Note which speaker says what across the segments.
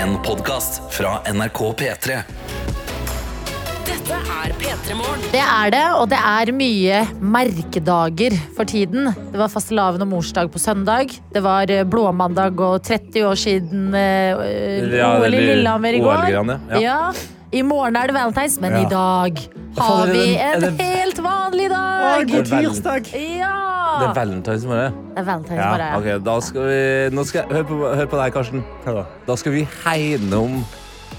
Speaker 1: En podcast fra NRK P3
Speaker 2: Dette er P3 Morgen.
Speaker 3: Det er det, og det er mye merkedager for tiden. Det var fastelavn og morsdag på søndag. Det var eh, blåmandag og 30 år siden eh,
Speaker 4: Ja,
Speaker 3: OL i
Speaker 4: eller
Speaker 3: Lillehammer i går.
Speaker 4: OL-greiene, ja.
Speaker 3: I morgen er det valentines, men
Speaker 4: Ja.
Speaker 3: i dag
Speaker 4: faen,
Speaker 3: har
Speaker 4: er det
Speaker 3: vi
Speaker 4: den- er
Speaker 3: en
Speaker 4: det-
Speaker 3: helt vanlig dag!
Speaker 4: er tirsdag. Det
Speaker 3: Ja!
Speaker 4: er valentines i morgen.
Speaker 3: Det er valentines
Speaker 4: Ja,
Speaker 3: bare.
Speaker 4: ok, da skal vi nå skal jeg, hør, på, hør på deg, Karsten. Da skal vi hegne om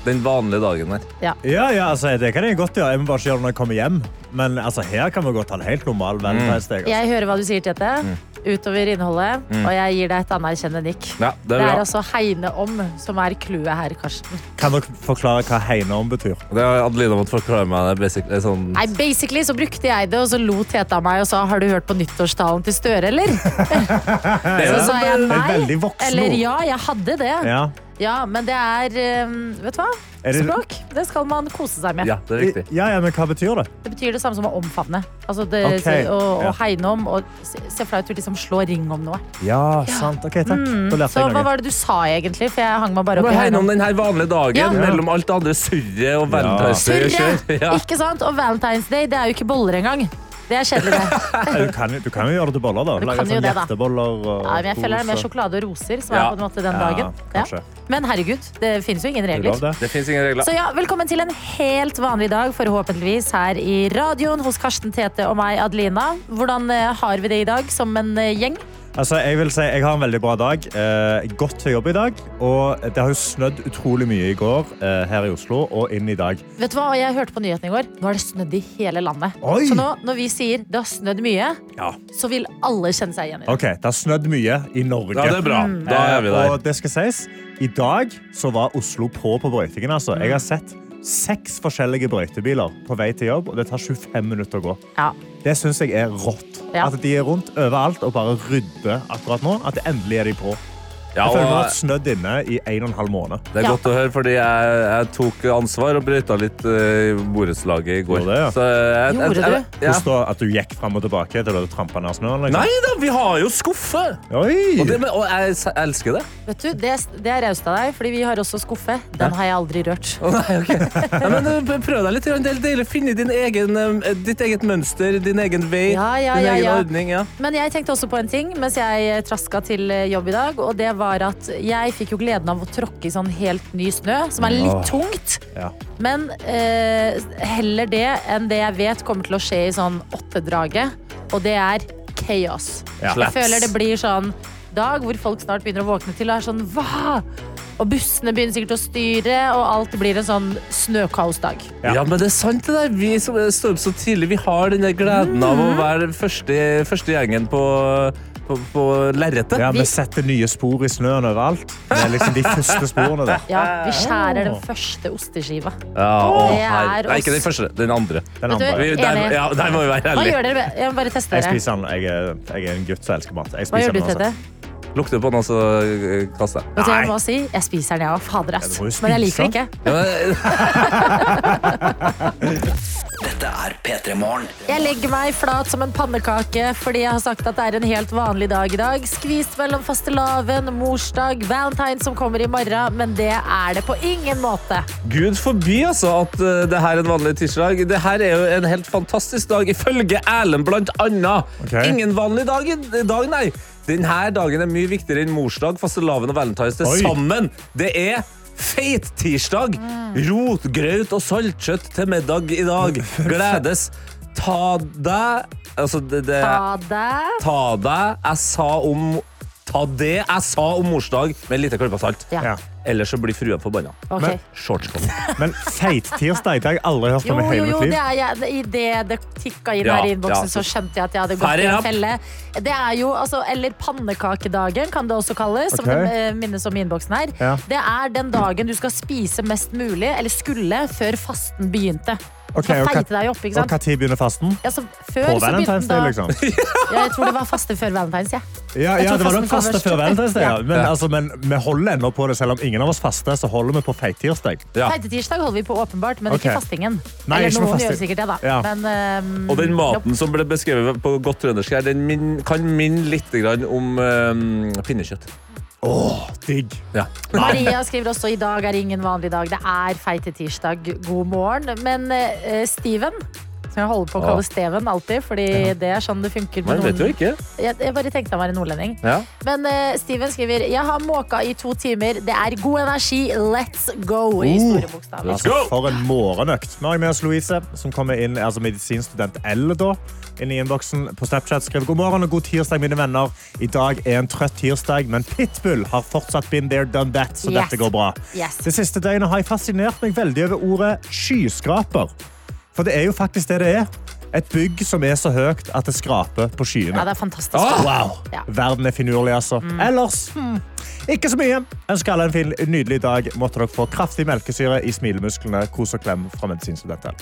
Speaker 4: den vanlige dagen her.
Speaker 5: Ja, ja altså, det kan jeg godt gjøre. Jeg må bare ikke gjøre det når jeg kommer hjem. Men altså, her kan vi godt ha en helt normal valentinsdag. Altså.
Speaker 3: Jeg hører hva du sier, Tete,
Speaker 4: Mm.
Speaker 3: utover innholdet, og jeg gir deg et anerkjennende nikk.
Speaker 4: Ja, det
Speaker 3: Det
Speaker 4: er
Speaker 3: er
Speaker 4: bra.
Speaker 3: altså hegne om som er clouet her, Karsten.
Speaker 5: Kan dere forklare hva hegnom betyr?
Speaker 4: Det har Adelina måtte forklare meg. Det er basically sånn
Speaker 3: Nei, basically så brukte jeg det, og så lo Tete av meg og sa Har du hørt på nyttårstalen til Støre, eller? så sa jeg
Speaker 5: Det er veldig
Speaker 3: nei.
Speaker 5: voksen
Speaker 3: Eller
Speaker 5: ord.
Speaker 3: ja, jeg hadde det. Ja,
Speaker 5: Ja.
Speaker 3: men det er um, Vet du hva?
Speaker 5: Er det-
Speaker 3: Språk. Det skal man kose seg med.
Speaker 4: Ja, det er riktig.
Speaker 5: Ja, ja, men hva betyr det?
Speaker 3: Det betyr det samme som å omfavne. Altså det,
Speaker 5: Ok,
Speaker 3: se- å, å
Speaker 5: ja.
Speaker 3: hegne om og se se flaut ut. Liksom slå ring om noe.
Speaker 5: Ja, Mm. sant. Ok, takk. Da lærte
Speaker 3: Så
Speaker 5: jeg
Speaker 3: hva
Speaker 5: noe.
Speaker 3: var det du sa egentlig? For jeg hang meg bare
Speaker 4: Du
Speaker 3: opp i
Speaker 4: må hegne
Speaker 3: hegne
Speaker 4: om
Speaker 3: om.
Speaker 4: den her vanlige dagen
Speaker 3: Ja.
Speaker 4: mellom alt det andre surret og valentinesdag.
Speaker 3: Surre!
Speaker 4: Ja.
Speaker 3: Ikke sant? Og Valentine's Day, det er jo ikke boller engang. Det er kjedelig, det.
Speaker 5: Nei, Du kan, jo- du kan jo gjøre det til boller, da.
Speaker 3: Du
Speaker 5: Lage
Speaker 3: kan jo
Speaker 5: sånn
Speaker 3: det, da.
Speaker 5: hjerteboller og
Speaker 3: Ja, men jeg føler det er mer
Speaker 5: kos og-
Speaker 3: sjokolade og roser som
Speaker 4: Ja.
Speaker 3: er på en måte den
Speaker 5: Ja,
Speaker 3: dagen.
Speaker 5: kanskje.
Speaker 3: Men herregud, det finnes jo ingen
Speaker 5: Er det lov,
Speaker 3: regler.
Speaker 5: det?
Speaker 4: Det fins ingen regler.
Speaker 3: Så ja, Velkommen til en helt vanlig dag, forhåpentligvis her i radioen hos Karsten Tete og meg, Adelina. Hvordan eh, har vi det i dag som en eh, gjeng?
Speaker 5: Altså, jeg vil si jeg har en veldig bra dag. Eh, godt til jobb i dag. Og det har jo snødd utrolig mye i går eh, her i Oslo og inn i dag.
Speaker 3: Vet du hva, Jeg hørte på nyhetene i går. Nå har det snødd i hele landet.
Speaker 5: Oi!
Speaker 3: Så nå, når vi sier det har snødd mye,
Speaker 5: Ja.
Speaker 3: så vil alle kjenne seg igjen i det.
Speaker 5: OK, det har snødd mye i Norge.
Speaker 4: Ja, det er bra. Da er vi
Speaker 5: Eh,
Speaker 4: der.
Speaker 5: Og det skal sies, i dag så var Oslo på på brøytingen. Altså. Jeg har sett seks forskjellige brøytebiler på vei til jobb, og det tar 25 minutter å gå.
Speaker 3: Ja.
Speaker 5: Det syns jeg er rått.
Speaker 3: Ja.
Speaker 5: At de er rundt overalt og bare rydder akkurat nå. At endelig er de på.
Speaker 4: Ja,
Speaker 5: Jeg føler vi har vært
Speaker 4: og
Speaker 5: snødd inne i en og en halv måned.
Speaker 4: det er
Speaker 3: Ja.
Speaker 4: godt å høre, fordi jeg, jeg tok ansvar og brøyta litt eh, i borettslaget i går.
Speaker 5: Gjorde det, ja.
Speaker 4: Så eh, jeg- jeg-
Speaker 3: Gjorde
Speaker 4: jeg- ja.
Speaker 5: Hvordan da? At du gikk fram og tilbake til du trampa ned snøen? Liksom.
Speaker 4: Nei da, vi har jo skuffe! Og, det,
Speaker 5: Oi!
Speaker 4: men- og jeg s- elsker det.
Speaker 3: Vet du, Det, det er raust av deg, fordi vi har også skuffe. Den har jeg aldri rørt.
Speaker 4: Å, nei, ok. Nei, men eh, Prøv deg litt. grann. Det er deilig å finne din egen, eh, ditt eget mønster, din egen vei,
Speaker 3: Ja, ja,
Speaker 4: din
Speaker 3: ja,
Speaker 4: egen
Speaker 3: ja.
Speaker 4: ordning. Ja.
Speaker 3: Men jeg tenkte også på en ting mens jeg traska til eh, jobb i dag. Og det var at jeg fikk jo gleden av å tråkke i sånn helt ny snø, som er litt
Speaker 5: Åh.
Speaker 3: tungt.
Speaker 5: Ja.
Speaker 3: Men eh, heller det enn det jeg vet kommer til å skje i sånn åttedraget, og det er chaos.
Speaker 5: Ja.
Speaker 3: Jeg føler det blir sånn dag hvor folk snart begynner å våkne til og er sånn hva? Og bussene begynner sikkert å styre, og alt blir en sånn snøkaosdag.
Speaker 4: Ja. men det er sant det der. Vi som eh, står opp så tidlig, vi har den der gleden av å
Speaker 3: Mm.
Speaker 4: være første, første gjengen på, på, på lerretet.
Speaker 5: Ja,
Speaker 3: Vi-
Speaker 5: vi setter nye spor i snøen overalt. Det er liksom de første sporene der.
Speaker 3: Ja, vi skjærer den første osteskiva.
Speaker 4: Ja, å,
Speaker 3: Det er
Speaker 4: her- Nei,
Speaker 3: oss.
Speaker 4: ikke den første, den andre.
Speaker 5: Den
Speaker 3: Vet du-
Speaker 5: andre.
Speaker 4: Vi, der,
Speaker 3: Enig.
Speaker 4: ja, der må vi være
Speaker 3: Hva
Speaker 4: ærlige.
Speaker 3: gjør dere? Jeg må bare teste
Speaker 5: Jeg
Speaker 3: dere.
Speaker 5: spiser den. Jeg er, jeg er en gutt som elsker mat.
Speaker 3: Hva
Speaker 5: Jeg spiser
Speaker 3: gjør du,
Speaker 5: den altså.
Speaker 3: Tete?
Speaker 4: Lukter på den, og så eh, kaster jeg.
Speaker 3: Vet du hva jeg
Speaker 5: Nei.
Speaker 3: må si? Jeg spiser den, jeg òg. Fader, ass.
Speaker 5: Ja, du må jo
Speaker 3: Men jeg liker
Speaker 5: spise
Speaker 3: det
Speaker 5: den.
Speaker 3: ikke.
Speaker 4: Ja, men-
Speaker 1: Dette er P3 Morgen
Speaker 3: Jeg legger meg flat som en pannekake fordi jeg har sagt at det er en helt vanlig dag i dag. Skvist mellom fastelavn, morsdag, valentine som kommer i morgen, men det er det på ingen måte.
Speaker 4: Gud forby altså at eh, det her er en vanlig tirsdag. Det her er jo en helt fantastisk dag, ifølge Erlend blant annet.
Speaker 5: Ok.
Speaker 4: Ingen vanlig dag, i- dag, nei. Denne dagen er mye viktigere enn morsdag, fastelavn og valentines til
Speaker 5: Oi.
Speaker 4: sammen. Det er feittirsdag. Rotgrøt og saltkjøtt til middag i dag. Gledes. Ta deg Altså, det, det
Speaker 3: Ha det.
Speaker 4: Ta deg. Jeg sa om Ta det jeg sa om morsdag med en liten klype salt.
Speaker 3: Ja.
Speaker 5: Ja.
Speaker 4: Ellers så blir frua forbanna.
Speaker 3: Ok.
Speaker 5: Men-
Speaker 4: Shortscom.
Speaker 5: Men feittirsdag, det har jeg aldri hørt
Speaker 3: Jo,
Speaker 5: om i hele
Speaker 3: jo, jo,
Speaker 5: mitt liv.
Speaker 3: det er jeg. Idet det tikka inn
Speaker 4: Ja,
Speaker 3: her i innboksen,
Speaker 4: ja.
Speaker 3: så skjønte jeg at jeg hadde
Speaker 4: Her
Speaker 3: gått
Speaker 4: er
Speaker 3: i en
Speaker 4: rapp.
Speaker 3: felle. Det er jo, altså, Eller pannekakedagen, kan det også kalles. Som
Speaker 5: Ok.
Speaker 3: det eh, minnes om i innboksen her.
Speaker 5: Ja.
Speaker 3: Det er den dagen du skal spise mest mulig, eller skulle, før fasten begynte. Du
Speaker 5: Ok,
Speaker 3: skal
Speaker 5: og hva-
Speaker 3: feite deg opp, ikke
Speaker 5: Og
Speaker 3: sant?
Speaker 5: hva tid begynner fasten?
Speaker 3: Ja, så før
Speaker 5: På
Speaker 3: så begynte den
Speaker 5: Valentine's
Speaker 3: da
Speaker 5: Day, liksom.
Speaker 3: ja, Jeg tror det var faste før Valentine's, jeg.
Speaker 5: Ja,
Speaker 3: Jeg
Speaker 5: ja
Speaker 3: tror
Speaker 5: det var
Speaker 3: fasten
Speaker 5: nok
Speaker 3: kom
Speaker 5: faste
Speaker 3: først.
Speaker 5: før Valentine's Day. Ja.
Speaker 3: Ja.
Speaker 5: Men, altså, men vi holder ennå på det. Selv om ingen av oss faster, så holder vi på feittirsdag.
Speaker 4: Ja.
Speaker 3: Feitetirsdag holder vi på åpenbart, men
Speaker 5: Ok.
Speaker 3: ikke fastingen.
Speaker 5: Nei,
Speaker 3: eller
Speaker 5: ikke
Speaker 3: noen
Speaker 5: med
Speaker 3: gjør
Speaker 5: fasting.
Speaker 3: sikkert det, da.
Speaker 5: Ja.
Speaker 3: Men, ehm,
Speaker 4: Og den
Speaker 3: nope.
Speaker 4: maten som ble beskrevet på godt trøndersk her, den min, kan minne litt grann om eh, pinnekjøtt.
Speaker 5: Digg.
Speaker 4: Ja.
Speaker 3: Maria skriver også i dag er ingen vanlig dag. Det er feite tirsdag. God morgen. Men eh, Steven som jeg holder på å kalle
Speaker 4: Ja.
Speaker 3: Steven alltid, fordi det er sånn det funker.
Speaker 4: Man
Speaker 3: med
Speaker 4: vet jo
Speaker 3: noen-
Speaker 4: ikke.
Speaker 3: Jeg, jeg bare tenkte han var en nordlending.
Speaker 4: Ja.
Speaker 3: Men eh, Steven skriver Jeg har måka i to timer. Det er god energi. Let's go!
Speaker 4: Oh.
Speaker 3: I store bokstaver.
Speaker 4: Let's go!
Speaker 5: Altså, For en morgenøkt. Vi har med oss Louise, som kommer inn, altså medisinstudent L da, inn i innboksen på Snapchat. Skrev god morgen og god tirsdag, mine venner. I dag er en trøtt tirsdag, men Pitbull har fortsatt been there, done that, så
Speaker 3: Yes.
Speaker 5: dette går bra.
Speaker 3: Yes.
Speaker 5: Det siste døgnet har jeg fascinert meg veldig over ordet skyskraper. For det er jo faktisk det det er. Et bygg som er så høyt at det skraper på skyene.
Speaker 3: Ja, det er fantastisk.
Speaker 4: Ah!
Speaker 5: Wow.
Speaker 3: Ja. Mm.
Speaker 5: Verden er finurlig, altså. Ellers hmm, ikke så mye. Ønsker alle en fin, nydelig dag. Måtte dere få kraftig melkesyre i smilemusklene. Kos og klem fra medisinstudenten.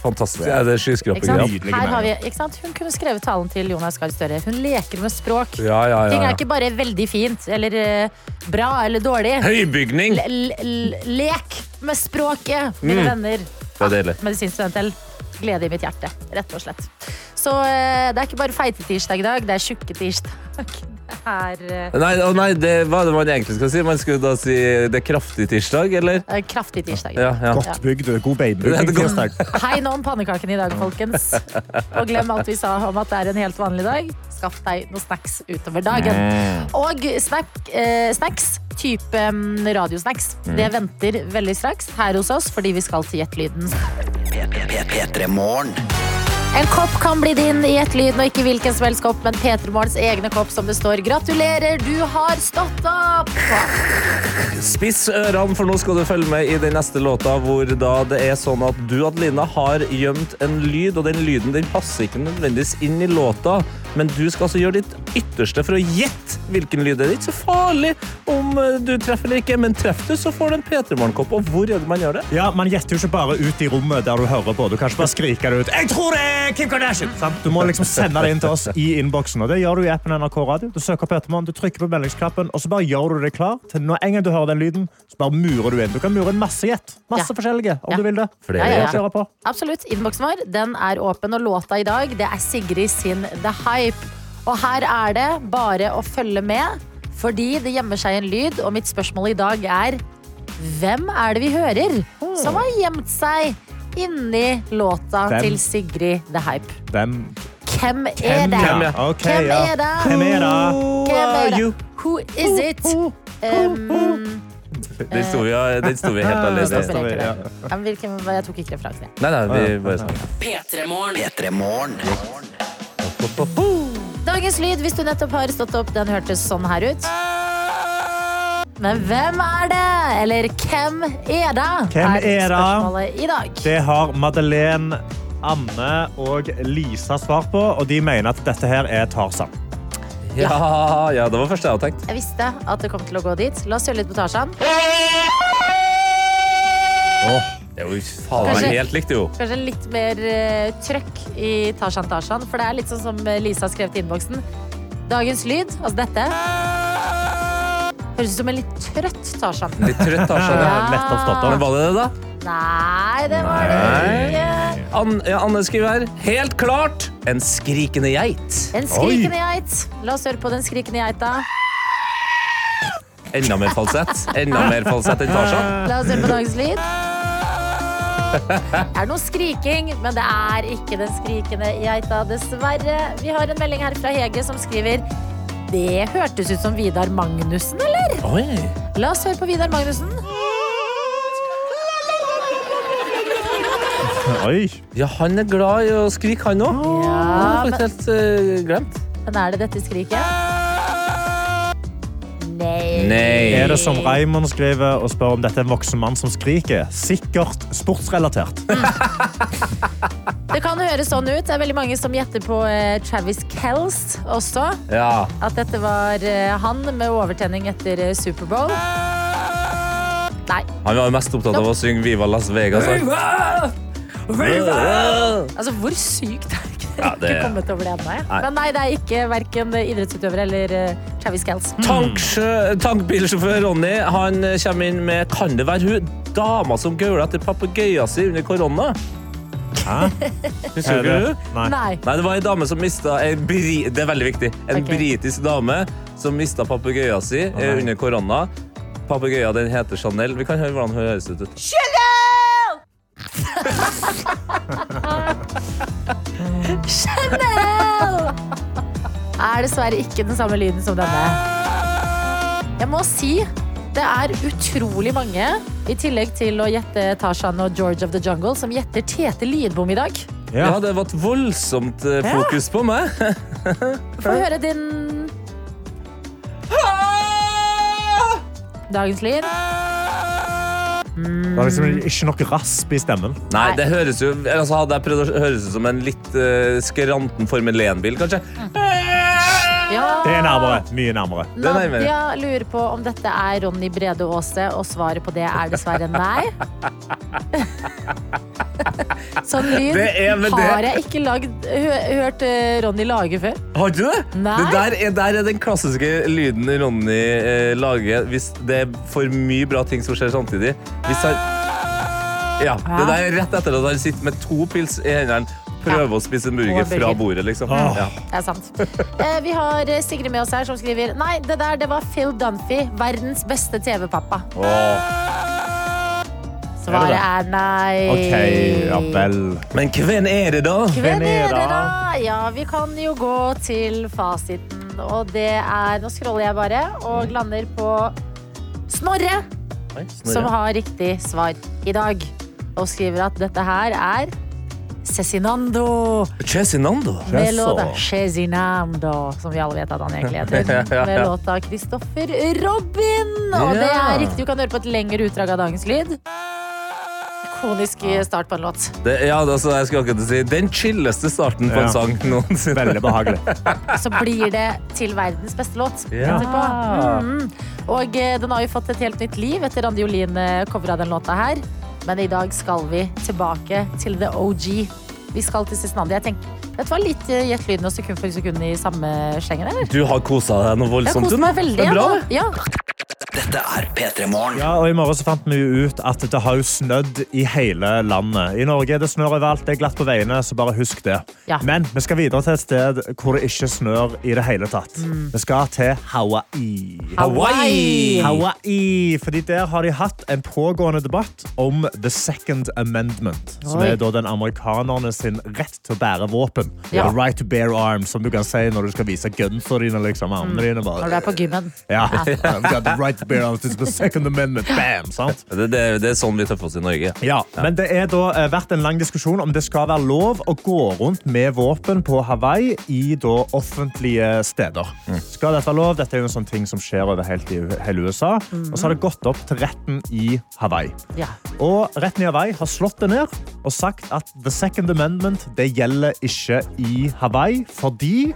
Speaker 4: Fantastisk. Ja, det
Speaker 3: Ikke
Speaker 4: er
Speaker 3: sant?
Speaker 4: skyskrapegreier.
Speaker 5: Nydelige
Speaker 3: Her har vi, ikke sant? Hun kunne skrevet talen til Jonas Gahr Støre. Hun leker med språk.
Speaker 4: Ja, ja,
Speaker 3: Ting er
Speaker 4: ja, ja.
Speaker 3: ikke bare veldig fint eller eh, bra eller dårlig.
Speaker 4: Høybygning!
Speaker 3: L- l- l- Lek med språket, mine venner.
Speaker 4: Mm. Det er deilig.
Speaker 3: Ah, Medisinstudent L. Glede i mitt hjerte, rett og slett. Så eh, det er ikke bare feite tirsdag i dag, det er tjukke tirsdag. Det er eh,
Speaker 4: Nei, å nei det, hva er det man egentlig skal si? Man skulle da si det er kraftig tirsdag, eller?
Speaker 3: eh, kraftig tirsdag.
Speaker 4: Ja, ja.
Speaker 5: Godt bygd. God
Speaker 4: Ja, det
Speaker 5: beinbygging.
Speaker 4: går-
Speaker 5: tirsdag.
Speaker 3: Hei nå om pannekakene i dag, folkens. Og glem alt vi sa om at det er en helt vanlig dag. Skaff deg noen snacks utover dagen. Og snack, eh, snacks, type mm, radiosnacks, det venter veldig straks her hos oss, fordi vi skal til Gjettlyden.
Speaker 1: P3 Morgen.
Speaker 3: En kopp kan bli din i Gjettlyden, og ikke hvilken som helst kopp, men P3 Morgens egne kopp som det står 'Gratulerer, du har stått opp'!
Speaker 4: Spiss ørene, for nå skal du følge med i den neste låta, hvor da det er sånn at du, Adelina, har gjemt en lyd, og den lyden den passer ikke nødvendigvis inn i låta, men du skal altså gjøre ditt ytterste for å gjette hvilken lyd det er. Det er ikke så farlig om eh, du treffer eller ikke, men treffer du, så får du en P3-morgenkopp, og hvor er det man gjør det?
Speaker 5: Ja, Man gjetter jo ikke bare ut i rommet der du hører på. Du kan ikke bare skrike det ut. Jeg tror det er Kim
Speaker 3: Mm.
Speaker 5: Kardashian! Sant? Du må liksom sende det inn til oss i innboksen. og Det gjør du i appen NRK Radio. Du søker på Ettermann, du trykker på meldingsknappen, og så bare gjør du deg klar til når en gang du hører den lyden, så bare murer du inn. Du kan mure inn masse gjett. Masse
Speaker 3: Ja.
Speaker 5: forskjellige, om
Speaker 3: Ja.
Speaker 5: du vil det.
Speaker 4: Flere
Speaker 3: Ja, ja, ja.
Speaker 5: Kjører på.
Speaker 3: Absolutt. Innboksen vår den er åpen, og låta i dag det er Sigrid sin The Hype. Og her er det bare å følge med, fordi det gjemmer seg en lyd, og mitt spørsmål i dag er hvem er det vi hører som har gjemt seg inni låta
Speaker 5: Hvem?
Speaker 3: til Sigrid The Hype?
Speaker 5: Hvem?
Speaker 3: Hvem er det?
Speaker 5: Hvem, ja. Ok,
Speaker 3: Hvem
Speaker 5: ja.
Speaker 3: er det?
Speaker 5: Hvem er det?
Speaker 3: Hvem er det?
Speaker 4: Who are you?
Speaker 3: Who is it? Um,
Speaker 4: Den sto vi, den sto vi helt
Speaker 3: jeg
Speaker 5: det
Speaker 4: alene i.
Speaker 5: står vi, ja.
Speaker 3: men hvilken, jeg tok ikke referansen, jeg.
Speaker 4: Nei, nei, vi bare sånn.
Speaker 2: P3 Morgen.
Speaker 1: P3 Morgen.
Speaker 3: Dagens lyd, hvis du nettopp har stått opp, den hørtes sånn her ut. Men hvem er det? Eller hvem er det?
Speaker 5: Hvem
Speaker 3: er
Speaker 5: er det?
Speaker 3: spørsmålet i dag.
Speaker 5: Det har Madeleine, Anne og Lisa svar på, og de mener at dette her er Tarzan.
Speaker 4: Ja, ja, det var første jeg hadde tenkt.
Speaker 3: Jeg visste at det kom til å gå dit. La oss høre litt på Tarzan.
Speaker 4: Det er jo faen meg
Speaker 3: Kanskje-
Speaker 4: helt likt, jo.
Speaker 3: Kanskje litt mer eh, trøkk i Tarzan Tarzan, for det er litt sånn som eh, Lisa har skrevet i innboksen. Dagens lyd, altså dette, høres ut som en litt trøtt Tarzan.
Speaker 4: Litt trøtt, Tarzan. ja.
Speaker 5: Lett oppstått
Speaker 4: Men
Speaker 5: av.
Speaker 4: var det det, da?
Speaker 3: Nei, det var det ikke.
Speaker 4: An ja, Anne skriver her. Helt klart en skrikende geit.
Speaker 3: En skrikende geit. La oss høre på den skrikende geita.
Speaker 4: Enda mer falsett. Enda mer falsett enn Tarzan.
Speaker 3: La oss høre på dagens lyd. Det er noe skriking, men det er ikke den skrikende geita, dessverre. Vi har en melding her fra Hege som skriver Det hørtes ut som Vidar Magnussen, eller?
Speaker 4: Oi.
Speaker 3: La oss høre på Vidar Magnussen.
Speaker 5: Oi.
Speaker 4: Ja, han er glad i å skrike, han òg.
Speaker 3: Ja,
Speaker 4: det har jeg faktisk helt eh, glemt.
Speaker 3: Men er det dette skriket? Nei.
Speaker 4: Nei.
Speaker 5: Er det som Raymond skriver og spør om dette er en voksen mann som skriker? Sikkert sportsrelatert.
Speaker 3: Det kan høres sånn ut. Det er veldig mange som gjetter på eh, Travis Kells også.
Speaker 4: Ja.
Speaker 3: at dette var eh, han med overtenning etter eh, Superbowl. Nei.
Speaker 4: Han var jo mest opptatt av å synge Viva Las Vegas. han.
Speaker 3: Altså, hvor sykt er ikke
Speaker 4: Ja, det
Speaker 3: ikke
Speaker 4: er-
Speaker 3: kommet over det ennå? jeg.
Speaker 4: Nei.
Speaker 3: Men nei, det er ikke verken idrettsutøver eller eh, Travis Kells.
Speaker 4: Tanksjø- Tankbilsjåfør Ronny han eh, kommer inn med Kan det være hun dama som gaula etter papegøyen sin under korona? Husker du
Speaker 5: Er
Speaker 4: ikke
Speaker 5: det-
Speaker 4: du?
Speaker 5: Nei.
Speaker 3: Nei.
Speaker 4: Nei, det var en dame som mista en bri... Det er veldig viktig. En
Speaker 3: Ok.
Speaker 4: britisk dame som mista papegøya si eh,
Speaker 5: nei.
Speaker 4: under korona. Papegøya den heter Chanel. Vi kan høre hvordan hun høres ut.
Speaker 3: Chanel! Er dessverre ikke den samme lyden som denne. Jeg må si det er utrolig mange, i tillegg til å gjette Tarzan og George of the Jungle, som gjetter Tete Lidbom i dag.
Speaker 4: Ja,
Speaker 5: Ja.
Speaker 4: det var et voldsomt eh, fokus på meg.
Speaker 3: Få høre din Dagens lyd.
Speaker 5: Det var liksom ikke nok rasp i stemmen.
Speaker 4: Nei, det høres jo altså, Hadde jeg prøvd å høres ut som en litt eh, skranten Formel 1-bil, kanskje.
Speaker 3: Ja.
Speaker 5: Det er nærmere. Mye nærmere.
Speaker 4: Det er nærmere.
Speaker 3: Nadia lurer på om dette er Ronny Brede Aase, og svaret på det er dessverre nei. Sånn lyd
Speaker 4: Det er med det.
Speaker 3: har jeg ikke lagd, hø hørt eh, Ronny lage før.
Speaker 4: Har du det?
Speaker 3: Nei.
Speaker 4: Det der er, der er den klassiske lyden Ronny eh, lager hvis det er for mye bra ting som skjer samtidig. Hvis han Ja, det der er rett etter at han sitter med to pils i hendene, prøver å spise en burger
Speaker 3: Og burger.
Speaker 4: fra bordet, liksom.
Speaker 5: Åh.
Speaker 4: Ja.
Speaker 3: Det er sant. Eh, vi har eh, Sigrid med oss her som skriver Nei, det der det var Phil Dunphy, verdens beste TV-pappa.
Speaker 4: Åh.
Speaker 3: Svaret
Speaker 5: Er
Speaker 3: er nei.
Speaker 5: OK, ja vel.
Speaker 4: Men hvem er det, da?
Speaker 3: Hvem
Speaker 5: Hvem er
Speaker 3: er det,
Speaker 5: det?
Speaker 3: da? Ja, vi kan jo gå til fasiten. Og det er Nå scroller jeg bare og lander på Snorre.
Speaker 4: Mm. Oi,
Speaker 3: som
Speaker 4: Snorre.
Speaker 3: har riktig svar i dag. Og skriver at dette her er Cezinando.
Speaker 4: Cezinando.
Speaker 3: Med
Speaker 5: Cezinando.
Speaker 3: låta Cezinando, som vi alle vet at han egentlig heter. Med låta Kristoffer Robin. Og det
Speaker 4: Ja.
Speaker 3: er riktig. Du kan høre på et lengre utdrag av dagens lyd. Konisk start på en låt.
Speaker 4: Det, ja, altså, jeg skulle akkurat si Den chilleste starten på
Speaker 5: Ja.
Speaker 4: en sang noensinne.
Speaker 5: Veldig behagelig.
Speaker 3: Så blir det til verdens beste låt
Speaker 4: Ja.
Speaker 3: etterpå. Mm. Og eh, den har jo fått et helt nytt liv etter Randi Olin covra den låta her. Men i dag skal vi tilbake til the OG. Vi skal til Cezinandi. Jeg tenker, Dette var litt eh, gjett lyden og sekund for sekund i samme slengen, eller?
Speaker 4: Du har kosa deg noe
Speaker 3: Jeg
Speaker 4: voldsomt.
Speaker 3: koste
Speaker 4: du.
Speaker 3: meg veldig.
Speaker 4: sånn Det er bra,
Speaker 3: ja,
Speaker 4: det.
Speaker 3: da. ja.
Speaker 1: Dette er P3 Morgen.
Speaker 5: Ja, og I morgen så fant vi jo ut at det har jo snødd i hele landet. I Norge det snør overalt, det er glatt på veiene, så bare husk det.
Speaker 3: Ja.
Speaker 5: Men vi skal videre til et sted hvor det ikke snør i det hele tatt.
Speaker 3: Mm.
Speaker 5: Vi skal til Hawaii.
Speaker 4: Hawaii.
Speaker 5: Hawaii, fordi Der har de hatt en pågående debatt om The Second Amendment. Som
Speaker 3: Oi.
Speaker 5: er da den amerikanerne sin rett til å bære våpen.
Speaker 3: Ja.
Speaker 5: The right to bear arms, som du kan si når du skal vise gunsa dine. Liksom, armene dine bare.
Speaker 3: Når Mm. du er på gymmen.
Speaker 5: Ja. I've got the right to bear arms. It's the second amendment. Bam! Sant?
Speaker 4: Det, det, det er sånn vi tøffer oss i Norge.
Speaker 5: Ja, men det er da eh, vært en lang diskusjon om det skal være lov å gå rundt med våpen på Hawaii i da offentlige steder. Skal dette være lov? Dette er jo en sånn ting som skjer over helt i hele USA. Og så har det gått opp til retten i Hawaii.
Speaker 3: Ja.
Speaker 5: Og retten i Hawaii har slått det ned og sagt at The Second Amendment det gjelder ikke i Hawaii fordi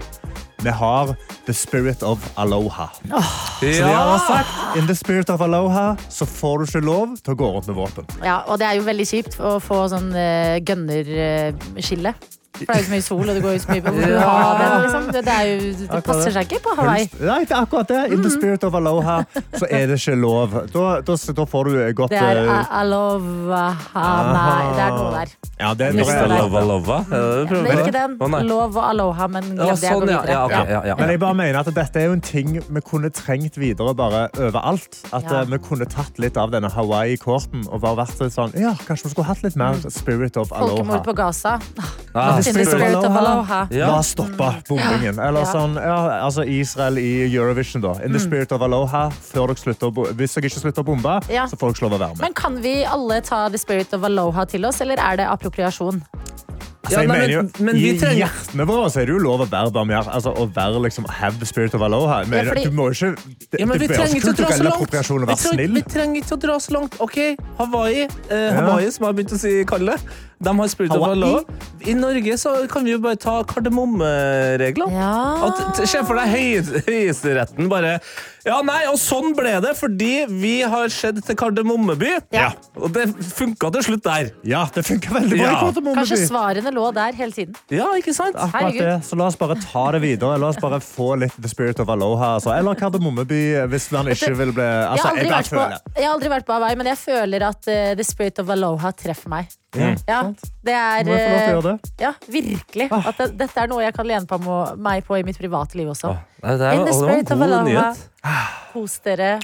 Speaker 5: vi har The Spirit of Aloha. Så de har sagt In the spirit of aloha så får du ikke lov til å gå rundt med våpen.
Speaker 3: Ja, og det er jo veldig kjipt å få sånn uh, gønnerskille. For det er jo så mye sol, og det går jo så mye Hvorfor
Speaker 5: Ja.
Speaker 3: ha den, liksom? det, det, er jo, det passer seg ikke på Hawaii.
Speaker 5: Nei, det er akkurat det. In the
Speaker 3: Mm.
Speaker 5: spirit of aloha så er det ikke lov. Da, da, da får du godt
Speaker 3: Det er
Speaker 5: eh,
Speaker 3: a- aloha Nei, det er noe der.
Speaker 5: ja, det er
Speaker 4: Mr.
Speaker 3: Mister
Speaker 5: noe
Speaker 4: Lova Lova? Er det det du
Speaker 3: Det
Speaker 4: prøver
Speaker 3: er
Speaker 4: på?
Speaker 3: ikke den.
Speaker 4: Å, nei.
Speaker 3: Lov og aloha, men glem
Speaker 4: Ja,
Speaker 3: det. Jeg
Speaker 4: sånn,
Speaker 3: går
Speaker 4: ja. Ja,
Speaker 3: videre.
Speaker 4: ok, ja, ja.
Speaker 5: Men jeg bare mener at dette er jo en ting vi kunne trengt videre bare overalt. At
Speaker 3: Ja.
Speaker 5: eh, vi kunne tatt litt av denne Hawaii-korten og bare vært litt sånn Ja, kanskje vi skulle hatt litt mer spirit of aloha.
Speaker 3: Mm. Folkemord på Gaza.
Speaker 4: Ah,
Speaker 3: In the spirit of aloha. Mm.
Speaker 4: Ja.
Speaker 5: La stoppe bombingen. Eller
Speaker 3: Ja. Mm.
Speaker 5: sånn, ja, altså Israel i Eurovision, da. In the spirit of aloha. Før dere slutter å bo Hvis dere ikke slutter å bombe,
Speaker 3: Ja.
Speaker 5: så får dere ikke lov å være med.
Speaker 3: Men kan vi alle ta the spirit of aloha til oss, eller er det appropriasjon?
Speaker 5: Altså, jeg
Speaker 4: Ja, nei,
Speaker 5: mener jo,
Speaker 4: men- men vi
Speaker 5: I
Speaker 4: trenger-
Speaker 5: hjertene våre så er det jo lov å være barmhjertig. Altså, å være liksom have the spirit of aloha. Jeg mener,
Speaker 3: Ja, fordi-
Speaker 5: Du må ikke det,
Speaker 4: Ja, men vi
Speaker 5: det er
Speaker 4: trenger ikke å dra så
Speaker 5: kulturell
Speaker 4: langt.
Speaker 5: appropriasjon å
Speaker 4: Vi
Speaker 5: være
Speaker 4: trenger, vi
Speaker 5: snill.
Speaker 4: trenger ikke å dra så langt. OK, Hawaii, eh, Hawaii som jeg har begynt å si kalle det. De har spilt over
Speaker 5: Hawaii?
Speaker 4: lov. I Norge så kan vi jo bare ta kardemommereglene.
Speaker 3: Ja.
Speaker 4: At- t- Se for deg høy- Høyesteretten bare Ja, nei, og sånn ble det fordi vi har skjedd til Kardemommeby.
Speaker 5: Ja.
Speaker 4: Og det funka til slutt der.
Speaker 5: Ja, det funker veldig bra.
Speaker 4: Ja.
Speaker 5: i Kåte Mommeby.
Speaker 3: Kanskje svarene lå der hele tiden.
Speaker 4: Ja, ikke sant?
Speaker 5: Akkurat
Speaker 3: Herregud.
Speaker 5: det. Så la oss bare ta det videre. La oss bare få litt The Spirit of Aloha. Altså. Eller Kardemommeby, eh, hvis man ikke vil bli
Speaker 3: Jeg
Speaker 5: altså,
Speaker 3: har aldri
Speaker 5: jeg
Speaker 3: vært på,
Speaker 5: føler-
Speaker 4: Mm.
Speaker 3: jeg har aldri vært på Hawaii, men jeg føler at eh, the spirit of aloha treffer meg. Ja, Det er
Speaker 5: Må jeg få lov til å gjøre det?
Speaker 3: eh,
Speaker 5: Ah.
Speaker 3: Ja, virkelig. At det, dette er noe jeg kan lene på mo- meg på i mitt private liv også.
Speaker 4: Ah. Nei, Det, er,
Speaker 3: In the
Speaker 4: og det var en
Speaker 3: spirit of
Speaker 4: god
Speaker 3: Alava.
Speaker 4: nyhet.
Speaker 3: Kos dere.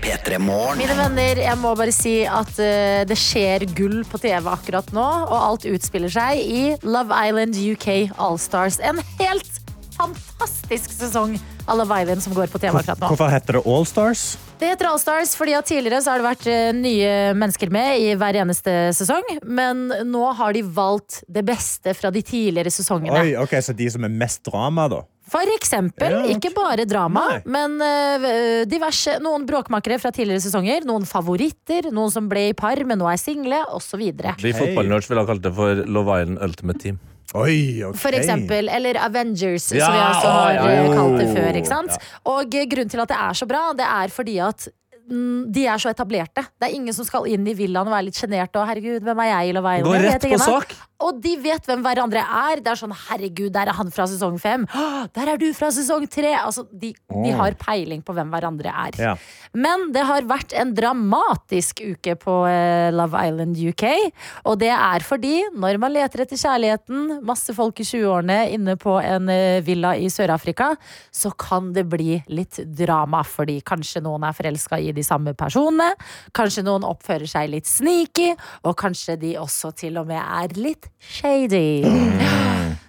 Speaker 1: P3 Morgen.
Speaker 3: Mine venner, jeg må bare si at eh, det skjer gull på TV akkurat nå, og alt utspiller seg i Love Island UK Allstars. En helt fantastisk sesong av Love Island som går på TV akkurat nå.
Speaker 5: Hvorfor heter det Allstars?
Speaker 3: Det heter Allstars fordi at tidligere så har det vært eh, nye mennesker med i hver eneste sesong, men nå har de valgt det beste fra de tidligere sesongene.
Speaker 5: Oi, ok, Så de som er mest drama, da?
Speaker 3: For eksempel,
Speaker 5: Ja, ok.
Speaker 3: ikke bare drama,
Speaker 5: Nei.
Speaker 3: men eh, diverse, noen bråkmakere fra tidligere sesonger, noen favoritter, noen som ble i par, men nå er single, osv.
Speaker 4: Vi fotballnerds ville ha kalt det for Love Island Ultimate Team.
Speaker 5: Oi, ok.
Speaker 3: For eksempel, eller Avengers,
Speaker 4: Ja,
Speaker 3: som vi også
Speaker 4: å,
Speaker 3: har
Speaker 4: ja,
Speaker 5: ja,
Speaker 3: eh, kalt det
Speaker 5: ja.
Speaker 3: før. ikke sant? Og eh, grunnen til at det er så bra, det er fordi at mm, de er så etablerte. Det er ingen som skal inn i villaen og være litt sjenerte. Og herregud, hvem er jeg i Love Island?
Speaker 4: Går
Speaker 3: Jeg
Speaker 4: rett
Speaker 3: vet ikke hvem
Speaker 4: på
Speaker 3: jeg er.
Speaker 4: sak.
Speaker 3: Og de vet hvem hverandre er. Det er sånn, herregud, der er han fra sesong fem. «Å, Der er du fra sesong tre. Altså, de, de har peiling på hvem hverandre er.
Speaker 5: Ja.
Speaker 3: Men det har vært en dramatisk uke på eh, Love Island UK. Og det er fordi når man leter etter kjærligheten, masse folk i 20-årene inne på en eh, villa i Sør-Afrika, så kan det bli litt drama. Fordi kanskje noen er forelska i de samme personene, kanskje noen oppfører seg litt sneaky, og kanskje de også til og med er litt shady.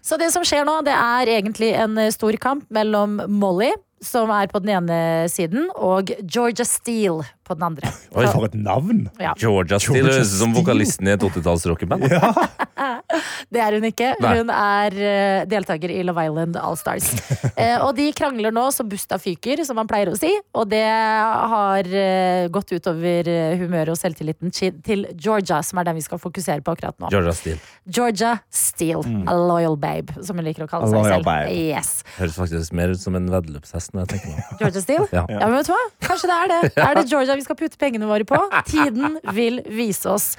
Speaker 3: Så det som skjer nå, det er egentlig en eh, stor kamp mellom Molly, som er på den ene siden, og Georgia Steele på den andre.
Speaker 5: Oi, for et navn!
Speaker 3: Ja,
Speaker 4: Georgia Steele
Speaker 5: Georgia
Speaker 4: høres ut som
Speaker 5: Steele.
Speaker 4: vokalisten i et 80-tallsrockeband.
Speaker 3: det er hun ikke.
Speaker 4: Nei.
Speaker 3: Hun er eh, deltaker i Love Island Allstars. Eh, og de krangler nå så busta fyker, som man pleier å si. Og det har eh, gått utover eh, humøret og selvtilliten chi- til Georgia, som er den vi skal fokusere på akkurat nå.
Speaker 4: Georgia Steele
Speaker 3: Georgia Steele, a loyal babe, som hun liker å kalle
Speaker 5: Mm. A
Speaker 3: seg
Speaker 5: loyal
Speaker 3: selv.
Speaker 5: babe.
Speaker 3: Yes.
Speaker 4: høres faktisk mer ut som en veddeløpshest. når jeg tenker meg om.
Speaker 3: Georgia Steele?
Speaker 4: Ja.
Speaker 3: Ja. men vet du hva? Kanskje det er det. Er det Georgia vi skal putte pengene våre på? Tiden vil vise oss.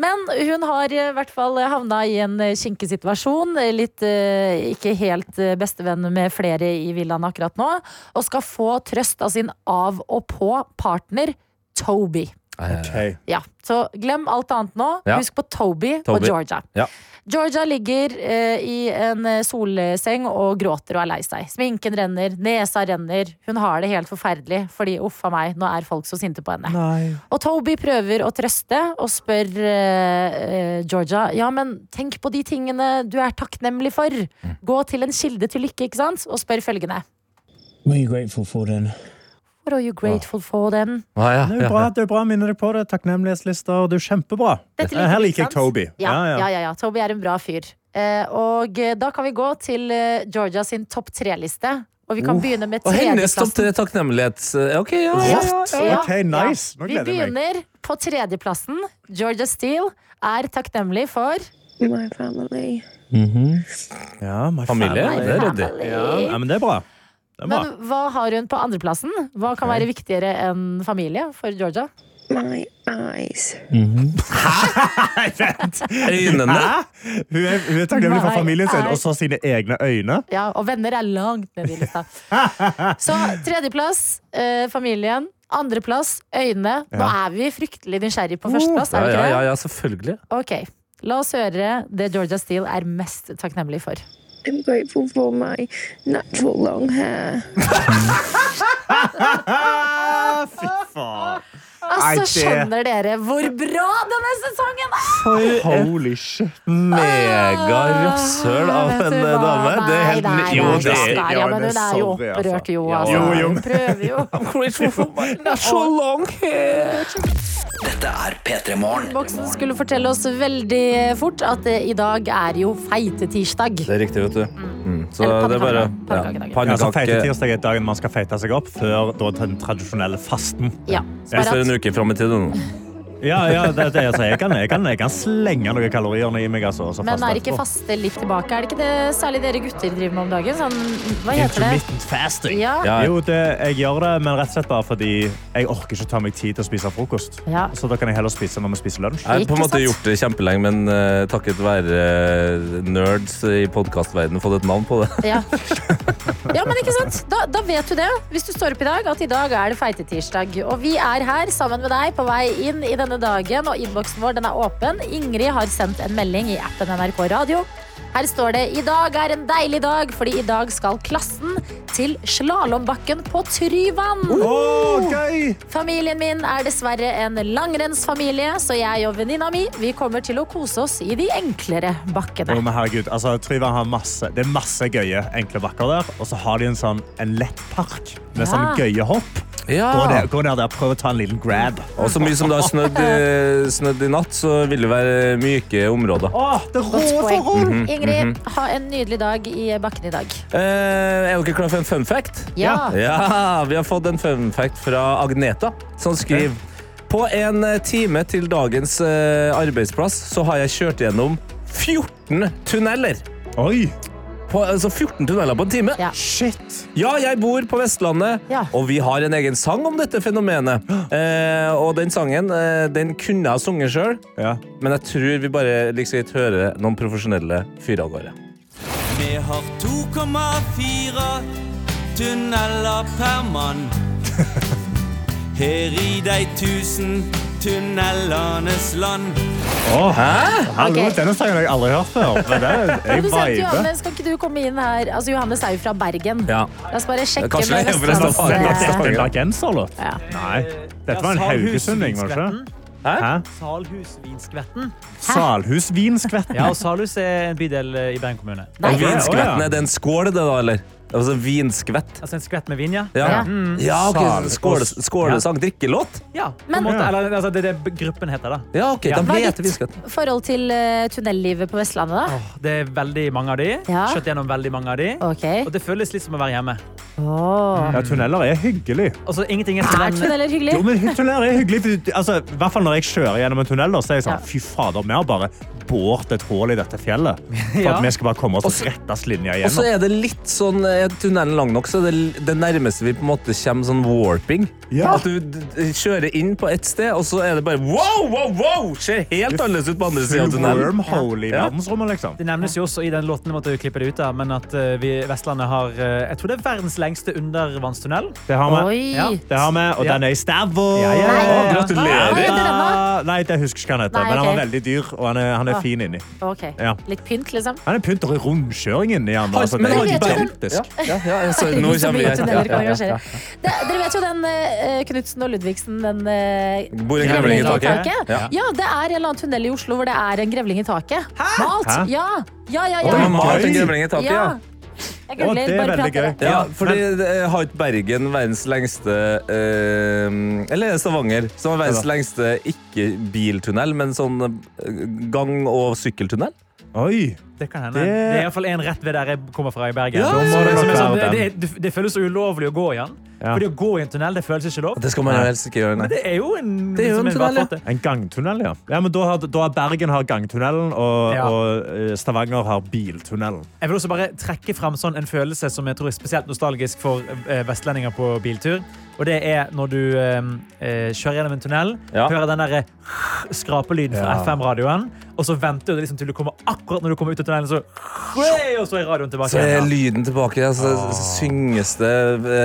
Speaker 3: Men hun har eh, i hvert fall havna i en eh, kinkig situasjon. eh, Litt eh, ikke helt eh, bestevenn med flere i villaen akkurat nå. Og skal få trøst av sin av og på partner Toby.
Speaker 5: Ok.
Speaker 3: Ja, Så glem alt annet nå.
Speaker 4: Ja.
Speaker 3: Husk på Toby,
Speaker 4: Toby.
Speaker 3: og Georgia.
Speaker 4: Ja.
Speaker 3: Georgia ligger eh, i en eh, solseng og gråter og er lei seg. Sminken renner, nesa renner. Hun har det helt forferdelig, fordi uff a meg, nå er folk så sinte på henne.
Speaker 5: Nei.
Speaker 3: Og Toby prøver å trøste og spør eh, eh, Georgia Ja, men tenk på de tingene du er takknemlig for.
Speaker 4: Mm.
Speaker 3: Gå til en kilde til lykke, ikke sant? Og spør følgende.
Speaker 6: What are you grateful for then?
Speaker 3: What are you grateful for then?
Speaker 4: Ah, ja,
Speaker 5: Det er
Speaker 4: ja,
Speaker 5: jo bra,
Speaker 4: ja.
Speaker 5: det er bra å minne deg på det. Takknemlighetslister. Det er jo kjempebra.
Speaker 3: Dette liker
Speaker 5: Her
Speaker 3: vi,
Speaker 5: liker jeg
Speaker 3: sant?
Speaker 5: Toby.
Speaker 3: Ja, ja, ja, ja. Toby er en bra fyr. Eh, og eh, da kan vi gå til eh, Georgia sin topp tre-liste. Og vi kan
Speaker 5: Oh,
Speaker 3: begynne med
Speaker 4: Og hennes topp
Speaker 3: tredjeplassen.
Speaker 4: tre takknemlighets... eh, Ok, ja, ja, ja.
Speaker 5: What?
Speaker 3: Ja,
Speaker 5: Ok, nice. Nå
Speaker 3: Vi
Speaker 5: gleder jeg meg.
Speaker 3: begynner på tredjeplassen. Georgia Steele er takknemlig for
Speaker 7: My family.
Speaker 5: Ja, my
Speaker 4: Familie,
Speaker 5: family.
Speaker 4: det er ryddig.
Speaker 5: Ja, men det er bra. Det er bra.
Speaker 3: Men hva har hun på andreplassen? Hva kan være viktigere enn familie for Georgia?
Speaker 7: My eyes.
Speaker 4: Øynene.
Speaker 5: Hæ? Hun er, hun er takknemlig for
Speaker 3: Nei,
Speaker 5: familien sin,
Speaker 3: nei.
Speaker 5: og så sine egne øyne.
Speaker 3: Ja, Og venner er langt nede i lista. Så tredjeplass eh, familien. Andreplass øyne. Nå
Speaker 5: Ja. Oh,
Speaker 3: er vi fryktelig nysgjerrig på førsteplass.
Speaker 4: Ja,
Speaker 3: er vi
Speaker 4: ja,
Speaker 3: ikke det?
Speaker 4: ja, ja, selvfølgelig.
Speaker 3: Ok, la oss høre det Georgia Steele er mest takknemlig for.
Speaker 7: I'm grateful for my natural long hair.
Speaker 5: Ah, fy faen.
Speaker 3: Altså,
Speaker 5: Nei, det-
Speaker 3: skjønner dere hvor bra denne sesongen er!
Speaker 5: Holy shit.
Speaker 4: Mega rasshøl av
Speaker 3: Vet
Speaker 4: en
Speaker 3: du
Speaker 4: eh,
Speaker 3: hva?
Speaker 4: dame. Det er helt
Speaker 3: Nei,
Speaker 4: li-
Speaker 3: nei,
Speaker 4: Jo,
Speaker 3: nei,
Speaker 4: det
Speaker 3: nei,
Speaker 4: er
Speaker 3: nei,
Speaker 5: ja,
Speaker 3: ja, men
Speaker 5: det er
Speaker 3: hun er jo
Speaker 5: sorry, altså.
Speaker 3: opprørt, jo.
Speaker 5: Ja,
Speaker 3: Altså.
Speaker 5: jo, jo,
Speaker 3: Hun
Speaker 5: men-
Speaker 3: prøver jo.
Speaker 1: Dette er P3 Morgen.
Speaker 3: Boksen skulle fortelle oss veldig fort at eh, i dag er jo feitetirsdag.
Speaker 4: Det er riktig, vet du. Mm. Så
Speaker 3: Eller
Speaker 4: det er bare
Speaker 3: pannekake-
Speaker 4: ja,
Speaker 3: pannekakedagen.
Speaker 5: Ja, så
Speaker 4: Pannekake
Speaker 5: feite tirsdag er dagen man skal feite seg opp før da, den tradisjonelle fasten.
Speaker 3: Ja,
Speaker 4: Vi
Speaker 3: bare
Speaker 4: står en
Speaker 3: at
Speaker 4: uke fram i tid nå.
Speaker 5: Ja, ja, det, det, altså, jeg, kan, jeg, kan, jeg kan slenge noen kalorier i meg. Altså, og så
Speaker 3: men
Speaker 5: faste
Speaker 3: er ikke
Speaker 5: etterpå.
Speaker 3: faste litt tilbake? Er det ikke det særlig dere gutter driver med om dagen? Sånn, hva heter det?
Speaker 5: Intermittent fasting.
Speaker 3: Ja,
Speaker 4: Ja,
Speaker 5: Jo, det, jeg gjør det, men rett og slett bare fordi jeg orker ikke ta meg tid til å spise frokost.
Speaker 3: Ja.
Speaker 5: Så da kan jeg heller spise når vi spiser lunsj.
Speaker 4: Jeg har på en
Speaker 3: Ikke
Speaker 4: måte
Speaker 3: sant?
Speaker 4: gjort det kjempelenge, men eh, takket være eh, nerds i podkastverdenen fått et navn på det.
Speaker 3: Ja. ja, men ikke sant? Da, da vet du det, hvis du står opp i dag, at i dag er det feitetirsdag. Og vi er her sammen med deg på vei inn i den denne dagen, og innboksen vår den er åpen. Ingrid har sendt en melding i appen NRK Radio. Her står det i dag er en deilig dag, fordi i dag skal klassen til slalåmbakken på Tryvann.
Speaker 5: Å, gøy!
Speaker 3: Familien min er dessverre en langrennsfamilie, så jeg og venninna mi vi kommer til å kose oss i de enklere bakkene.
Speaker 5: Å, men herregud, altså, Tryvann har masse, det er masse gøye enkle bakker der. Og så har de en sånn en lett park med sånn
Speaker 3: Ja. Ah.
Speaker 5: gøye hopp.
Speaker 4: Ja.
Speaker 5: Gå ned, gå ned der, prøv å ta en liten grab.
Speaker 4: Og så mye som det har snødd, eh, snødd i natt, så vil det være myke områder.
Speaker 5: Å, det rå
Speaker 3: Godt poeng.
Speaker 5: forhold!
Speaker 3: Ingrid, ha en nydelig dag i bakken i dag.
Speaker 4: Eh, er dere klare for en fun fact?
Speaker 3: Ja.
Speaker 4: Ja, Vi har fått en fun fact fra Agneta, som skriver På en eh, time til dagens eh, arbeidsplass så har jeg kjørt gjennom 14 tunneler.
Speaker 5: Oi,
Speaker 4: På, altså 14 tunneler på en time.
Speaker 3: Ja.
Speaker 5: shit.
Speaker 4: Ja, jeg bor på Vestlandet,
Speaker 3: Ja.
Speaker 4: og vi har en egen sang om dette fenomenet. Eh, og den sangen eh, den kunne jeg ha sunget sjøl,
Speaker 5: Ja.
Speaker 4: men jeg tror vi bare liksom ikke hører noen profesjonelle fyrer av gårde.
Speaker 8: Vi har 2,4 tunneler per mann. Her i de tusen tunnelenes land.
Speaker 5: Å,
Speaker 4: Hæ?
Speaker 5: Hallo,
Speaker 3: Ok.
Speaker 5: denne sangen har jeg aldri hørt før. Men det er, jeg
Speaker 3: Produsent
Speaker 5: viber.
Speaker 3: Johannes, kan ikke du komme inn her? Altså, Johannes er jo fra Bergen.
Speaker 4: Ja.
Speaker 3: La oss bare sjekke
Speaker 4: Kanskje
Speaker 3: med
Speaker 4: det er forresten
Speaker 5: Var det
Speaker 4: Johannes.
Speaker 5: dette
Speaker 3: Vestlands...
Speaker 4: farlig.
Speaker 5: en bergenserlåt?
Speaker 3: Ja.
Speaker 5: Nei. Dette var en
Speaker 8: Ja,
Speaker 5: haugesunding, var det ikke?
Speaker 4: Hæ?
Speaker 5: Hæ?
Speaker 9: Salhusvinskvetten.
Speaker 5: Salhusvinskvetten.
Speaker 9: Ja, og Salhus er en bydel eh, i Bergen kommune.
Speaker 3: Nei,
Speaker 4: Og vinskvetten,
Speaker 5: ja.
Speaker 4: er det en skål, det da, eller? Altså vinskvett.
Speaker 9: Altså en skvett med vin, ja.
Speaker 4: Ja, Mm.
Speaker 3: Ja.
Speaker 4: ja ok.
Speaker 5: Mm. Sal-
Speaker 4: Skåle, skålesang. Drikkelåt?
Speaker 9: ja på
Speaker 3: Men-
Speaker 9: en måte, eller, altså, det er det gruppen heter, da.
Speaker 4: Ja, ok.
Speaker 9: Ja.
Speaker 4: De
Speaker 3: Hva er
Speaker 4: heter
Speaker 3: ditt
Speaker 4: vinskvett.
Speaker 3: forhold til eh, tunnellivet på Vestlandet, da?
Speaker 9: Åh, Det er veldig mange av de.
Speaker 3: Ja.
Speaker 9: Kjørt gjennom veldig mange av de.
Speaker 3: Ok.
Speaker 9: Og det føles litt som å være hjemme.
Speaker 3: Åh.
Speaker 5: Ja, tunneler er hyggelig.
Speaker 9: Altså, ingenting er
Speaker 3: Er
Speaker 9: sånn
Speaker 3: tunneler hyggelig?
Speaker 5: Jo, men tunneler er hyggelig. for du- Altså, I hvert fall når jeg kjører gjennom en tunnel, da, så er jeg sånn,
Speaker 3: Ja.
Speaker 5: fy fader, vi har bare båret et hål i dette fjellet. For
Speaker 9: Ja.
Speaker 5: at vi skal bare komme oss
Speaker 4: Også-
Speaker 5: rettest linja
Speaker 4: Og så
Speaker 5: igjennom.
Speaker 4: er det litt sånn Er tunnelen lang nok, så er det det nærmeste vi på en måte kommer sånn warping.
Speaker 5: Ja.
Speaker 4: At du d- d- kjører inn på ett sted, og så er det bare wow, wow, wow! Ser helt annerledes ut på andre sida av
Speaker 5: Full
Speaker 4: tunnelen.
Speaker 5: wormhole i
Speaker 4: Ja.
Speaker 5: verdensrommet, liksom.
Speaker 9: Det nevnes jo også i den låten, jeg måtte jo klippe det ut av, men at eh, vi Vestlandet har eh, jeg tror det er verdens lengste undervannstunnel.
Speaker 5: Det har vi.
Speaker 3: Oi.
Speaker 9: Ja.
Speaker 5: Det har vi, og
Speaker 9: Ja.
Speaker 5: den er i Stavå.
Speaker 9: Ja, ja, ja, ja.
Speaker 5: Å,
Speaker 3: Hva heter den da?
Speaker 5: Nei, det husker jeg ikke hva han
Speaker 3: Nei,
Speaker 5: heter, men han
Speaker 3: ok.
Speaker 5: var veldig dyr, og han er, han er
Speaker 3: Ah.
Speaker 5: fin inni.
Speaker 3: Ok.
Speaker 5: Ja.
Speaker 3: Litt pynt, liksom?
Speaker 5: Han er pynter i rundkjøringen i han. Altså, det
Speaker 4: Men
Speaker 5: er
Speaker 4: har de
Speaker 3: vet jo
Speaker 4: bare-
Speaker 5: gigantisk.
Speaker 4: Ja, ja, ja, så nå
Speaker 3: Ah. Så mye
Speaker 4: kommer vi
Speaker 3: tunneler
Speaker 4: her.
Speaker 3: kan engasjere. Det, dere vet jo den uh, Knutsen og Ludvigsen, den eh,
Speaker 4: Bor en grevling i taket?
Speaker 3: Ja. det er en eller annen tunnel i Oslo hvor det er en grevling i taket. Malt!
Speaker 5: Hæ?
Speaker 3: Ja, ja, ja.
Speaker 4: De
Speaker 3: ja.
Speaker 4: har malt en
Speaker 5: Gøy.
Speaker 4: grevling i taket,
Speaker 3: ja.
Speaker 4: ja.
Speaker 3: Jeg
Speaker 5: Å,
Speaker 3: googler,
Speaker 5: det er
Speaker 3: bare
Speaker 5: veldig
Speaker 3: prater.
Speaker 5: gøy.
Speaker 4: Ja, fordi eh, har ikke Bergen verdens lengste eh, Eller er det Stavanger? Som har
Speaker 5: Ja
Speaker 4: verdens
Speaker 5: da.
Speaker 4: lengste ikke-biltunnel, men sånn eh, gang- og sykkeltunnel?
Speaker 5: Oi.
Speaker 9: Det kan hende.
Speaker 5: Det-
Speaker 9: Det, det er iallfall en rett ved der jeg kommer fra i Bergen.
Speaker 4: Ja,
Speaker 9: Som
Speaker 4: ja, ja.
Speaker 9: er sånn,
Speaker 5: Da må det nok være
Speaker 9: det, det, det føles så ulovlig å gå igjen.
Speaker 5: Ja.
Speaker 9: Fordi å gå i en tunnel, det føles ikke lov.
Speaker 4: Det skal man jo helst ikke gjøre, nei.
Speaker 9: Det er jo en,
Speaker 4: Det er jo
Speaker 9: som
Speaker 4: en tunnel, ja.
Speaker 9: bakgate.
Speaker 5: En gangtunnel, ja. ja men da har, da har Bergen har gangtunnelen, og,
Speaker 9: Ja.
Speaker 5: og eh, Stavanger har biltunnelen.
Speaker 9: Jeg vil også bare trekke fram sånn en følelse som jeg tror er spesielt nostalgisk for eh, vestlendinger på biltur. Og det er når du eh, eh, kjører gjennom en tunnel,
Speaker 4: Ja.
Speaker 9: hører den der eh, skrapelyden fra
Speaker 5: Ja.
Speaker 9: FM-radioen, og så venter du liksom til du kommer akkurat når du kommer ut av tunnelen, så, Wey! og så er radioen tilbake.
Speaker 4: Så Altså, er
Speaker 9: igjen.
Speaker 4: lyden tilbake, ja, så synges det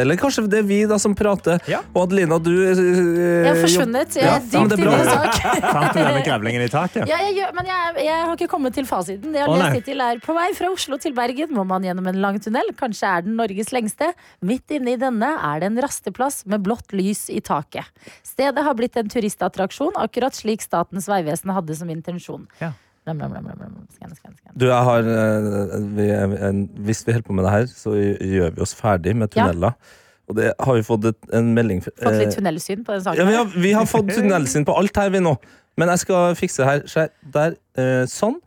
Speaker 4: Eller kanskje det er vi da som prater.
Speaker 9: Ja.
Speaker 4: Og Adelina, du eh,
Speaker 3: Jeg har forsvunnet. Jeg
Speaker 4: Ja,
Speaker 3: er
Speaker 4: men
Speaker 3: dypt
Speaker 4: det er
Speaker 3: inne
Speaker 4: bra.
Speaker 3: i en sak.
Speaker 5: Fant du denne grevlingen i taket?
Speaker 3: Ja, jeg, gjør- men jeg, jeg har ikke kommet til fasiten. Det jeg
Speaker 5: Å,
Speaker 3: har
Speaker 5: nei.
Speaker 3: lest hittil er På vei fra Oslo til Bergen må man gjennom en lang tunnel. Kanskje er den Norges lengste. Midt inne i denne er det en rasteplass med blått lys i taket. Stedet har blitt en turistattraksjon, akkurat slik Statens vegvesen hadde som intensjon.
Speaker 9: Ja.
Speaker 3: Lam, lam, lam, lam, lam. Skann, skann, skann.
Speaker 4: Du, jeg har eh, vi, en- Hvis vi holder på med det her, så gjør vi oss ferdig med
Speaker 3: Ja.
Speaker 4: tunneler. Og det har vi fått et, en melding fra-
Speaker 3: Fått
Speaker 4: eh,
Speaker 3: litt tunnelsyn på den saken.
Speaker 4: Ja, vi, har, vi har fått tunnelsyn på alt her vi nå. Men jeg skal fikse det her. Se, Der. eh, sånn.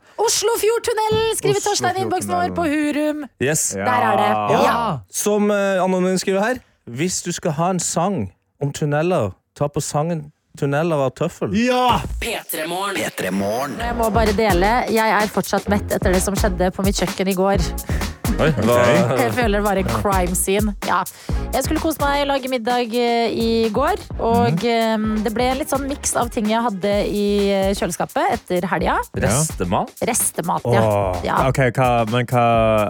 Speaker 3: Oslofjordtunnelen, skriver Torstein i innboksen vår
Speaker 5: Oslofjordtunnelen.
Speaker 3: på Hurum.
Speaker 4: Yes.
Speaker 5: Ja.
Speaker 3: Der er det.
Speaker 5: Ja.
Speaker 3: Ja.
Speaker 4: Som eh, Anonym skriver her. Hvis du skal ha en sang om tunneler, ta på sangen 'Tunneler av tøffel'.
Speaker 5: Ja!
Speaker 2: P3morgen.
Speaker 1: P3morgen.
Speaker 3: Jeg må bare dele. Jeg er fortsatt mett etter det som skjedde på mitt kjøkken i går.
Speaker 4: Oi, hva-
Speaker 3: Jeg føler det var en crime scene. Ja. Jeg skulle kose meg, lage middag eh, i går. Og eh, det ble en litt sånn miks av ting jeg hadde i eh, kjøleskapet etter helga.
Speaker 4: Restemat?
Speaker 3: Restemat, ja.
Speaker 5: Åh.
Speaker 3: ja.
Speaker 5: Ok, hva, men hva,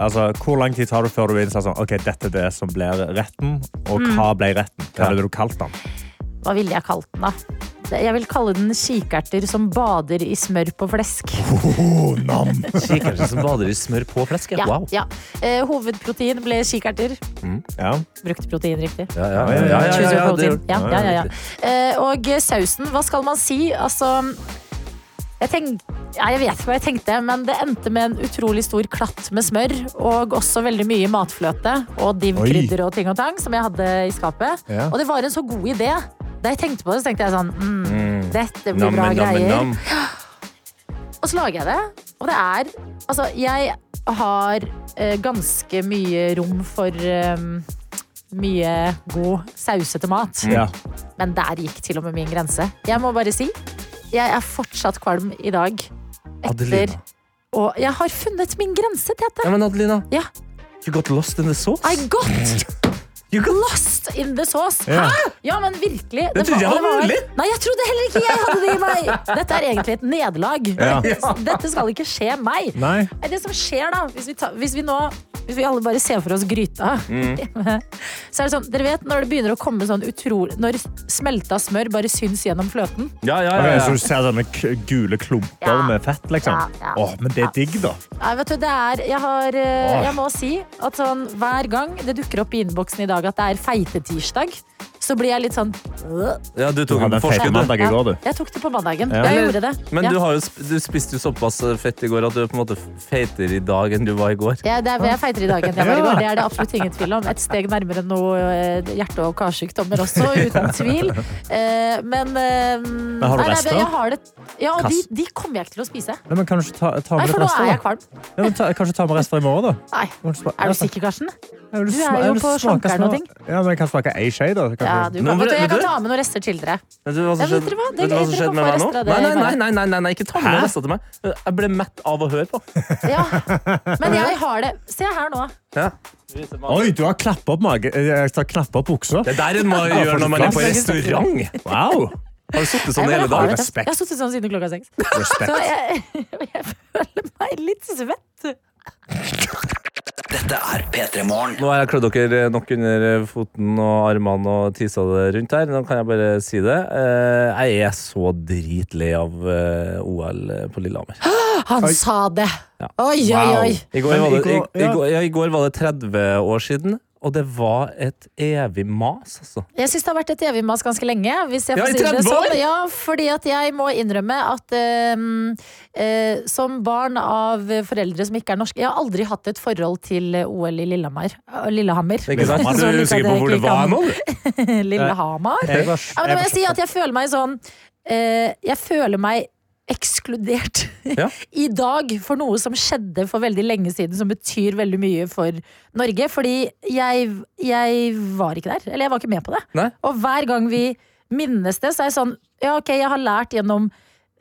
Speaker 5: altså, hvor lang tid tar du før du innser sånn, ok, dette er det som blir retten, og hva ble retten? Hva
Speaker 4: Ja.
Speaker 5: ville du kalt den?
Speaker 3: Hva ville jeg kalt den, da? Jeg vil kalle den kikerter som bader i smør på flesk.
Speaker 5: Oh, nam.
Speaker 4: Kikerter som bader i smør på flesk.
Speaker 3: Ja,
Speaker 4: Ja. Wow.
Speaker 3: ja. Eh, hovedprotein ble kikerter.
Speaker 5: Ja.
Speaker 3: Brukte protein riktig.
Speaker 4: Ja, ja, ja, ja, ja,
Speaker 3: Choose
Speaker 4: ja,
Speaker 3: your
Speaker 4: det
Speaker 3: protein.
Speaker 4: gjorde-
Speaker 3: Ja, ja, ja, ja. Eh, Og sausen, hva skal man si? Altså jeg, tenk, ja, jeg vet ikke hva jeg tenkte, men det endte med en utrolig stor klatt med smør. Og også veldig mye matfløte og
Speaker 5: Oi.
Speaker 3: div-krydder og ting og tang som jeg hadde i skapet.
Speaker 5: Ja.
Speaker 3: Og det var en så god idé. Da jeg tenkte på det, så tenkte jeg sånn mm, Dette blir
Speaker 4: Nam,
Speaker 3: bra
Speaker 4: nam, nam,
Speaker 3: greier.
Speaker 4: nam.
Speaker 3: Og så lager jeg det, og det er Altså, jeg har eh, ganske mye rom for eh, mye god sausete mat.
Speaker 5: Ja.
Speaker 3: Men der gikk til og med min grense. Jeg må bare si, jeg er fortsatt kvalm i dag. Etter
Speaker 4: Adelina.
Speaker 3: Og jeg har funnet min grense, Tete.
Speaker 4: Ja, men Adelina,
Speaker 3: Ja.
Speaker 4: you got lost in the sauce.
Speaker 3: I got
Speaker 4: You got
Speaker 3: lost in the sauce.
Speaker 5: Ja.
Speaker 3: Hæ? Ja, men virkelig. Det
Speaker 4: trodde jeg
Speaker 3: og det
Speaker 4: var mulig.
Speaker 3: Nei, jeg trodde heller ikke jeg hadde det i meg. Dette er egentlig et nederlag.
Speaker 5: Ja.
Speaker 3: Dette skal ikke skje meg.
Speaker 5: Nei.
Speaker 3: Nei, Det som skjer da, hvis vi, ta, hvis vi nå hvis vi alle bare ser for oss gryta, så er det sånn, dere vet når det begynner å komme sånn utrolig, når smelta smør bare syns gjennom fløten,
Speaker 4: Ja, ja,
Speaker 5: Ok,
Speaker 4: ja,
Speaker 5: så
Speaker 4: ja.
Speaker 5: du ser sånne k gule klumper
Speaker 3: Ja.
Speaker 5: med fett, liksom?
Speaker 3: Ja, ja.
Speaker 5: Åh, men det er digg, da.
Speaker 3: Nei, vet du, det er, jeg, har, eh,
Speaker 5: Åh.
Speaker 3: jeg må si at sånn, hver gang det dukker opp i innboksen i dag at det er feitetirsdag, så blir jeg litt sånn øh.
Speaker 4: ja du
Speaker 5: Du
Speaker 4: tok den
Speaker 5: hadde
Speaker 4: på
Speaker 5: en feit
Speaker 4: forskudd. du.
Speaker 5: mandag i går, du.
Speaker 3: Jeg tok det på mandagen.
Speaker 5: Ja.
Speaker 3: Jeg
Speaker 4: Eller-
Speaker 3: gjorde det.
Speaker 4: Men
Speaker 3: ja.
Speaker 4: du, har jo, sp- du spiste jo såpass eh, fett i går at du er på en måte feitere i dag enn du var i går.
Speaker 3: Ja, det er, jeg feitere i dag enn jeg var i
Speaker 5: Ja.
Speaker 3: går. Det er det absolutt ingen tvil om. Et steg nærmere noe eh, hjerte- og karsykdommer også, uten tvil. Eh, Men, eh,
Speaker 5: har du
Speaker 3: nei, nei,
Speaker 5: rester?
Speaker 3: Jeg har det. Ja, og de,
Speaker 5: Kass.
Speaker 3: de kommer jeg ikke til å spise.
Speaker 5: Nei, men kan du ikke ta, ta
Speaker 3: Nei,
Speaker 5: med
Speaker 3: for
Speaker 5: litt
Speaker 3: nå er jeg
Speaker 5: rester? da?
Speaker 3: kvalm.
Speaker 5: Ja, men ta, kanskje ta med rester i morgen, da?
Speaker 3: Nei.
Speaker 5: Kan sma-
Speaker 3: Er du
Speaker 5: smak-
Speaker 3: sikker, Karsten?
Speaker 5: Jeg vil
Speaker 3: Du er
Speaker 5: sma- jeg
Speaker 3: jo
Speaker 5: vil
Speaker 3: på
Speaker 5: smake
Speaker 3: smaker
Speaker 5: sma-
Speaker 3: og ting.
Speaker 5: Ja, men jeg kan smake ei skje, da. Kan
Speaker 3: Ja, du
Speaker 5: du-
Speaker 4: Nå,
Speaker 3: kan.
Speaker 4: men
Speaker 3: Vet du, jeg
Speaker 4: vet
Speaker 3: kan
Speaker 4: du-
Speaker 3: ta med noen rester til dere.
Speaker 4: Vet du
Speaker 3: Ja,
Speaker 4: hva som
Speaker 3: men
Speaker 4: skjedde,
Speaker 3: vet dere hva? Det-
Speaker 4: vet du hva som
Speaker 3: dere
Speaker 4: skjedde
Speaker 3: kan
Speaker 4: med
Speaker 3: få
Speaker 4: meg nå?
Speaker 3: resten av det
Speaker 4: Nei,
Speaker 3: i
Speaker 4: nei, nei,
Speaker 3: morgen.
Speaker 4: nei, nei, nei, nei, ikke ta med
Speaker 5: Hæ?
Speaker 4: resten til meg. Jeg ble mett av å høre på.
Speaker 3: Ja. Men jeg har det. Se her nå.
Speaker 4: Ja.
Speaker 5: Oi, du har klappa opp mage... eh, Jeg skal klappe opp buksa.
Speaker 4: Det der en må gjøre når man er på restaurant.
Speaker 5: Wow!
Speaker 4: Har du sittet sånn
Speaker 3: Jeg
Speaker 4: hele
Speaker 3: bare har
Speaker 4: dagen?
Speaker 3: det.
Speaker 5: respekt.
Speaker 3: Jeg har sittet sånn siden klokka seks. Så
Speaker 5: Respekt.
Speaker 3: jeg, jeg føler meg litt svett.
Speaker 1: Dette er P3 Morgen.
Speaker 4: Nå har jeg klødd dere nok under foten og armene og tisa det rundt her. Nå kan jeg bare si det. Eh, Jeg er så dritlei av eh, OL på Lillehammer.
Speaker 3: Han sa det. Oi, oi,
Speaker 5: Wow.
Speaker 3: oi.
Speaker 4: I går,
Speaker 5: Men i
Speaker 4: var det, i,
Speaker 5: går-
Speaker 4: i,
Speaker 5: ja.
Speaker 4: går, ja, I går var det 30 år siden, og det var et evig mas, altså.
Speaker 3: Jeg syns det har vært et evigmas ganske lenge. Hvis jeg
Speaker 4: Ja,
Speaker 3: får
Speaker 4: i
Speaker 3: si det
Speaker 4: 30 år!
Speaker 3: sånn. Ja, fordi at jeg må innrømme at ehm, eh, som barn av foreldre som ikke er norske Jeg har aldri hatt et forhold til OL i Lillehammer. Eh, Lillehammer.
Speaker 4: Ikke sant?
Speaker 3: Så
Speaker 4: Du er
Speaker 3: litt at
Speaker 4: usikker på
Speaker 3: jeg
Speaker 4: hvor det
Speaker 3: ikke
Speaker 4: var
Speaker 3: kan-
Speaker 4: nå? du?
Speaker 3: Lillehammer?
Speaker 5: Jeg var-
Speaker 3: Ja, men da må jeg
Speaker 5: jeg-
Speaker 3: si at jeg føler meg sånn eh, Jeg føler meg ekskludert
Speaker 4: Ja.
Speaker 3: i dag for noe som skjedde for veldig lenge siden, som betyr veldig mye for Norge. Fordi jeg, jeg var ikke der. Eller jeg var ikke med på det.
Speaker 4: Nei.
Speaker 3: Og hver gang vi minnes det, så er jeg sånn Ja, ok, jeg har lært gjennom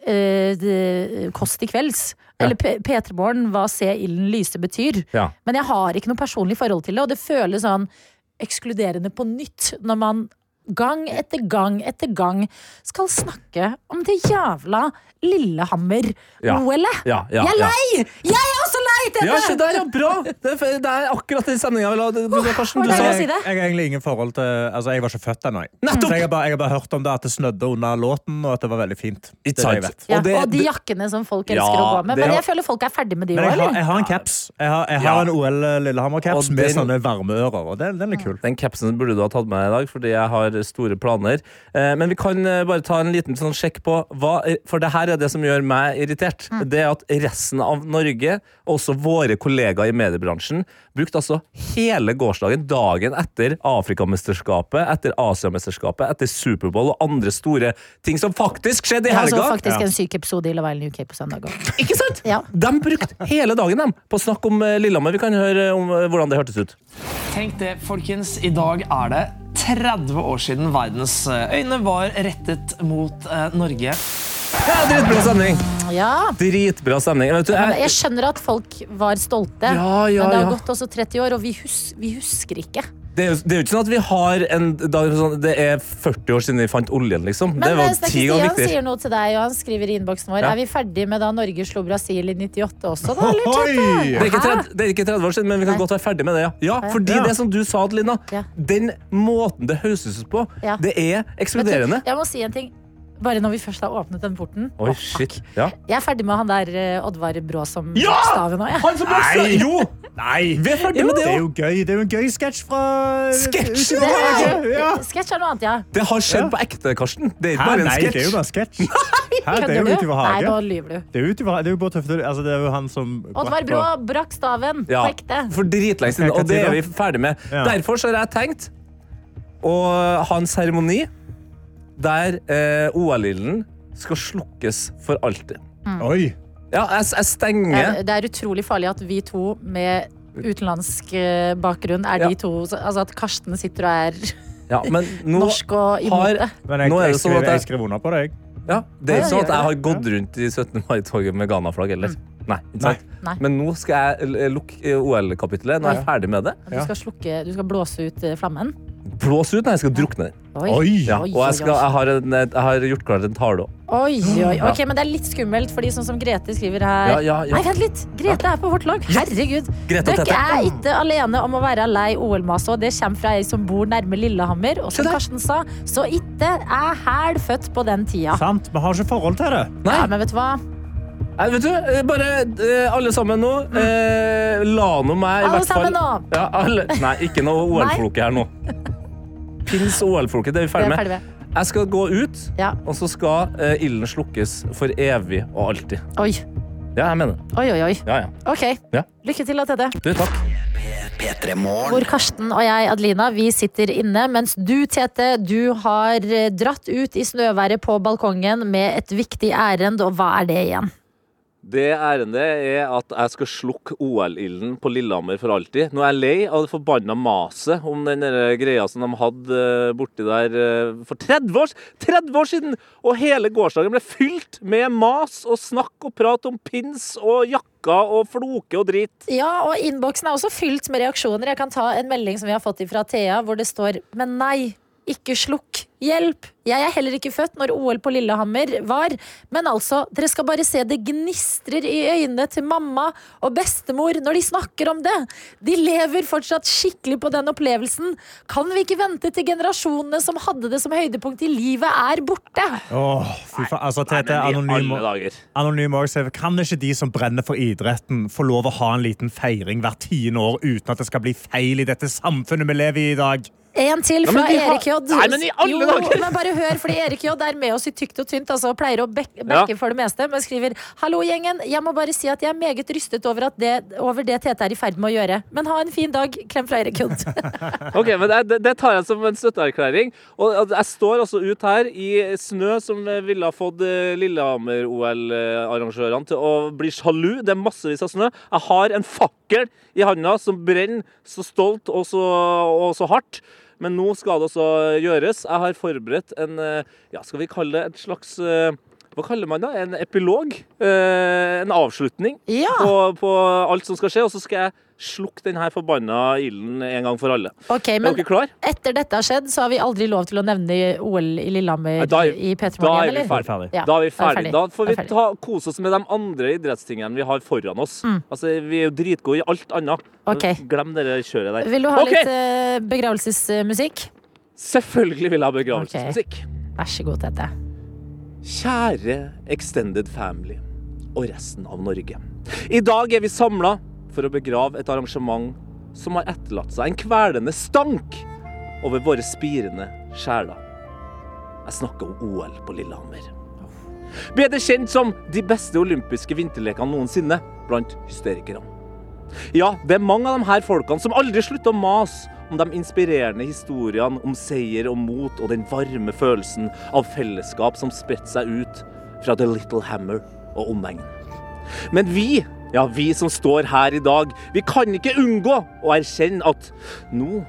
Speaker 3: eh, det- Kåss til kvelds. Eller P- P3 Morgen, hva se ilden lyse betyr.
Speaker 4: Ja.
Speaker 3: Men jeg har ikke noe personlig forhold til det, og det føles sånn ekskluderende på nytt når man gang etter gang etter gang skal snakke om det jævla
Speaker 4: Ja.
Speaker 3: Lillehammer-OL-et.
Speaker 4: Ja, ja,
Speaker 3: Jeg er
Speaker 4: ja.
Speaker 3: lei! Jeg er også lei,
Speaker 4: Ja, se
Speaker 3: Tete!
Speaker 4: der, ja, bra! Det er, det er akkurat den stemninga jeg vil ha. Du, du, Karsten, du
Speaker 3: Hva er
Speaker 4: sa
Speaker 3: det å si det?
Speaker 5: Jeg har egentlig ingen forhold til Altså, jeg var ikke født ennå. jeg.
Speaker 4: Nettopp!
Speaker 5: Så Jeg har bare, jeg har bare hørt om det at det snødde under låten, og at det var veldig fint. Det er det jeg
Speaker 4: sant.
Speaker 5: vet.
Speaker 3: Ja,
Speaker 4: Og det-
Speaker 3: og de
Speaker 4: det-
Speaker 3: jakkene som folk
Speaker 4: Ja,
Speaker 3: elsker å gå med.
Speaker 4: det-
Speaker 3: Men jeg føler folk er ferdig med de
Speaker 5: Men
Speaker 3: òg,
Speaker 5: jeg har,
Speaker 3: eller?
Speaker 5: jeg har en caps. Jeg har, jeg har
Speaker 4: Ja.
Speaker 5: en OL Lillehammer-caps
Speaker 4: Og
Speaker 5: med
Speaker 4: den-
Speaker 5: sånne varmeører, og den, den er kul.
Speaker 4: Den capsen burde du ha tatt med deg i dag, fordi jeg har store planer. Eh, men vi kan eh, bare ta en liten sånn sjekk på hva For det her er det som gjør meg irritert.
Speaker 3: Mm.
Speaker 4: Det er at resten av Norge, også våre kollegaer i mediebransjen, brukte altså hele gårsdagen, dagen etter Afrikamesterskapet, etter Asiamesterskapet, etter Superbowl og andre store ting som faktisk skjedde i
Speaker 3: Jeg så
Speaker 4: helga.
Speaker 3: Altså, faktisk en syk episode i Love Island UK på søndag òg.
Speaker 4: Ikke sant?
Speaker 3: Ja.
Speaker 4: De brukte hele dagen dem, på å snakke om eh, Lillehammer. Vi kan høre om eh, hvordan det hørtes ut.
Speaker 10: Tenk det, folkens. I dag er det 30 år siden verdens eh, øyne var rettet mot eh, Norge.
Speaker 4: Ja, dritbra stemning!
Speaker 3: Ja.
Speaker 4: Dritbra stemning. Vet du,
Speaker 3: Men
Speaker 4: jeg,
Speaker 3: jeg skjønner at folk var stolte,
Speaker 4: Ja, ja,
Speaker 3: men det har
Speaker 4: ja.
Speaker 3: gått også 30 år, og vi, hus vi husker ikke.
Speaker 4: Det er, jo, det er jo ikke sånn at vi har en dag sånn, Det er 40 år siden vi fant oljen, liksom. det
Speaker 3: Men
Speaker 4: var
Speaker 3: eh,
Speaker 4: jo ti
Speaker 3: Stian
Speaker 4: ganger viktigere.
Speaker 3: sier noe til deg, og han skriver i innboksen vår
Speaker 4: Ja.
Speaker 3: Er vi ferdig med da Norge slo Brasil i 98 også, da? Eller?
Speaker 5: Oi!
Speaker 4: Det er, ikke
Speaker 3: Hæ?
Speaker 4: 30, det er ikke 30 år siden, men vi kan
Speaker 3: Nei.
Speaker 4: godt være ferdig med det. Ja, ja fordi
Speaker 5: Ja.
Speaker 4: det som du sa, Adelina,
Speaker 3: Ja.
Speaker 4: den måten det høres ut på,
Speaker 3: Ja.
Speaker 4: det er
Speaker 3: Vet du,
Speaker 4: ekskluderende.
Speaker 3: Jeg må si en ting. Bare når vi først har åpnet den porten.
Speaker 4: Oi, shit. Ja.
Speaker 3: Jeg er ferdig med han der eh, Oddvar Brå som
Speaker 4: Ja!
Speaker 3: staven nå. Jeg.
Speaker 4: Han som ble
Speaker 5: Nei!
Speaker 4: Jo!
Speaker 5: Nei!
Speaker 4: Vi er ferdig
Speaker 5: Ja, men
Speaker 4: med det
Speaker 5: det er jo
Speaker 4: òg.
Speaker 5: gøy. Det er jo en gøy sketsj fra
Speaker 4: Sketsj!
Speaker 3: Det er,
Speaker 5: Ja.
Speaker 3: sketsj er noe annet, ja.
Speaker 4: Det har skjedd
Speaker 5: Ja.
Speaker 4: på ekte, Karsten. Det er ikke
Speaker 5: Hæ?
Speaker 4: bare en
Speaker 5: Nei, det er jo
Speaker 4: sketsj.
Speaker 5: bare en sketsj. Hæ, Det er jo ute i vår
Speaker 3: Nei, nå
Speaker 5: hage.
Speaker 3: lyver du.
Speaker 5: Det er jo ute i vår- det er jo bare tøft. Altså, det er jo han som
Speaker 3: Oddvar Brå brakk staven
Speaker 4: Ja,
Speaker 3: på ekte.
Speaker 4: for dritlenge siden,
Speaker 5: Hva
Speaker 4: og det
Speaker 5: tid da?
Speaker 4: er vi ferdig med.
Speaker 5: Ja.
Speaker 4: Derfor så har jeg tenkt å ha en seremoni der eh, OL-ilden skal slukkes for alltid.
Speaker 5: Oi!
Speaker 4: Ja, jeg, jeg
Speaker 3: Det
Speaker 4: stenger
Speaker 3: er, Eh, det er utrolig farlig at vi to med utenlandsk eh, bakgrunn er
Speaker 4: Ja.
Speaker 3: de to Altså at Karsten sitter og er
Speaker 4: ja, men nå
Speaker 3: norsk og imot
Speaker 4: har
Speaker 3: det.
Speaker 5: Men jeg,
Speaker 4: Nå er det
Speaker 5: jeg,
Speaker 4: sånn
Speaker 5: skriver,
Speaker 4: at jeg-
Speaker 5: jeg skriver under på det. jeg.
Speaker 4: ja, Det er
Speaker 3: Ja,
Speaker 4: ikke sånn at
Speaker 3: gjør
Speaker 4: jeg har gått rundt i 17. mai-toget med Ghana-flagg heller. Nei, ikke sant?
Speaker 3: Nei.
Speaker 4: Men nå skal jeg eh, lukke eh, OL-kapitlet. Nå er jeg ferdig med det.
Speaker 3: Du skal, slukke, du skal blåse ut eh, flammen.
Speaker 4: Blås ut, nei, jeg skal drukne den.
Speaker 5: Oi!
Speaker 4: Ja, og jeg, skal, jeg, har en, eh, jeg har gjort klar en tale òg.
Speaker 3: Oi, oi. Ok, men det er litt skummelt, fordi sånn som Grete skriver her
Speaker 4: Ja, ja, ja.
Speaker 3: Nei, vent litt! Grete er på vårt lag. Herregud.
Speaker 4: Grete og
Speaker 3: Dere
Speaker 4: Tete.
Speaker 3: er ikke alene om å være lei OL-maset, og det kommer fra ei som bor nærme Lillehammer. Og som Karsten sa, så ikke er hæl født på den tida.
Speaker 5: Sant? Vi har ikke forhold til det.
Speaker 3: Ja, men vet du hva?
Speaker 4: Nei, vet du, eh, bare eh, alle sammen nå. Eh, la nå meg i
Speaker 3: Mm. Alle
Speaker 4: hvert fall
Speaker 3: sammen nå.
Speaker 4: Ja, alle, nei, ikke noe OL-floke her nå. Pins og OL-floke, det er vi
Speaker 3: Vi
Speaker 4: ferdig
Speaker 3: er
Speaker 4: med.
Speaker 3: ferdig med.
Speaker 4: Jeg skal gå ut,
Speaker 3: Ja.
Speaker 4: og så skal eh, ilden slukkes for evig og alltid.
Speaker 3: Oi,
Speaker 4: Ja, jeg mener det.
Speaker 3: oi, oi. oi.
Speaker 4: Ja, ja.
Speaker 3: Ok.
Speaker 4: Ja.
Speaker 3: Lykke til, da, Tede.
Speaker 4: Du, takk.
Speaker 1: P3
Speaker 3: Hvor
Speaker 1: Morgen.
Speaker 3: Karsten og jeg, Adelina, vi sitter inne, mens du, Tete, du har eh, dratt ut i snøværet på balkongen med et viktig ærend, og hva er det igjen?
Speaker 4: Det ærendet er at jeg skal slukke OL-ilden på Lillehammer for alltid. Nå er jeg lei av det forbanna maset om den der greia som de hadde eh, borti der eh, for 30 år, 30 år siden! Og hele gårsdagen ble fylt med mas og snakk og prat om pins og jakker og floke og drit.
Speaker 3: Ja, og innboksen er også fylt med reaksjoner. Jeg kan ta en melding som vi har fått fra Thea, hvor det står Men nei, ikke slukk. Hjelp! Jeg er heller ikke født når OL på Lillehammer var. Men altså, dere skal bare se det gnistrer i øynene til mamma og bestemor når de snakker om det. De lever fortsatt skikkelig på den opplevelsen. Kan vi ikke vente til generasjonene som hadde det som høydepunkt i livet, er borte?
Speaker 5: Åh, fy faen. Altså, Tete, anonym,
Speaker 4: alle dager.
Speaker 5: anonym også skriver, Kan ikke de som brenner for idretten, få lov å ha en liten feiring hvert tiende år uten at det skal bli feil i dette samfunnet vi lever i i dag?
Speaker 3: En til
Speaker 4: men
Speaker 3: fra
Speaker 4: vi har-
Speaker 3: Erik J.
Speaker 4: Nei, men i alle
Speaker 3: jo,
Speaker 4: dager!
Speaker 3: men bare hør, fordi Erik J. er med oss i tykt og tynt altså, og pleier å bek bekke for det meste, men skriver Hallo, gjengen. Jeg må bare si at jeg er meget rystet over, at det, over det Tete er i ferd med å gjøre. Men ha en fin dag. Klem fra Erik J.
Speaker 4: Ok, men det, det- det tar jeg som en støtteerklæring. Og at jeg står altså ut her i snø som ville ha fått eh, Lillehammer-OL-arrangørene til å bli sjalu. Det er massevis av snø. Jeg har en fakkel i handa som brenner så stolt og så, og så hardt. Men nå skal det altså gjøres. Jeg har forberedt en eh, Ja, skal vi kalle det et slags eh, Hva kaller man det? En epilog? Eh, En avslutning
Speaker 3: Ja.
Speaker 4: på, på alt som skal skje. Og så skal jeg slukke denne forbanna ilden en gang for alle.
Speaker 3: Ok,
Speaker 4: Er
Speaker 3: men
Speaker 4: dere klar?
Speaker 3: etter dette har skjedd, så har vi aldri lov til å nevne OL i Lillehammer
Speaker 4: Nei, da er-
Speaker 3: i P3
Speaker 4: Da er
Speaker 3: Morgen,
Speaker 4: vi
Speaker 3: eller?
Speaker 4: ferdig.
Speaker 3: Ja,
Speaker 4: Da er vi ferdig.
Speaker 3: ferdig.
Speaker 4: Da får
Speaker 3: Da er
Speaker 4: vi
Speaker 3: ferdig. Mm.
Speaker 4: ta, kose oss med de andre idrettstingene vi har foran oss. Altså, vi er jo dritgode i alt annet.
Speaker 3: Ok.
Speaker 4: Glem det der kjøret der.
Speaker 3: Vil du ha
Speaker 4: Ok,
Speaker 3: litt eh, begravelsesmusikk?
Speaker 4: Selvfølgelig vil jeg ha begravelsesmusikk.
Speaker 3: Vær så god, Tete.
Speaker 4: Kjære Extended Family og resten av Norge. I dag er vi samla for å begrave et arrangement som har etterlatt seg en kvelende stank over våre spirende sjeler. Jeg snakker om OL på Lillehammer. Bedre kjent som de beste olympiske vinterlekene noensinne blant hysterikerne. Ja, det er mange av de her folkene som aldri slutter å mase om de inspirerende historiene om seier og mot og den varme følelsen av fellesskap som spredte seg ut fra The Little Hammer og omegn. Men vi, ja vi som står her i dag, vi kan ikke unngå å erkjenne at nå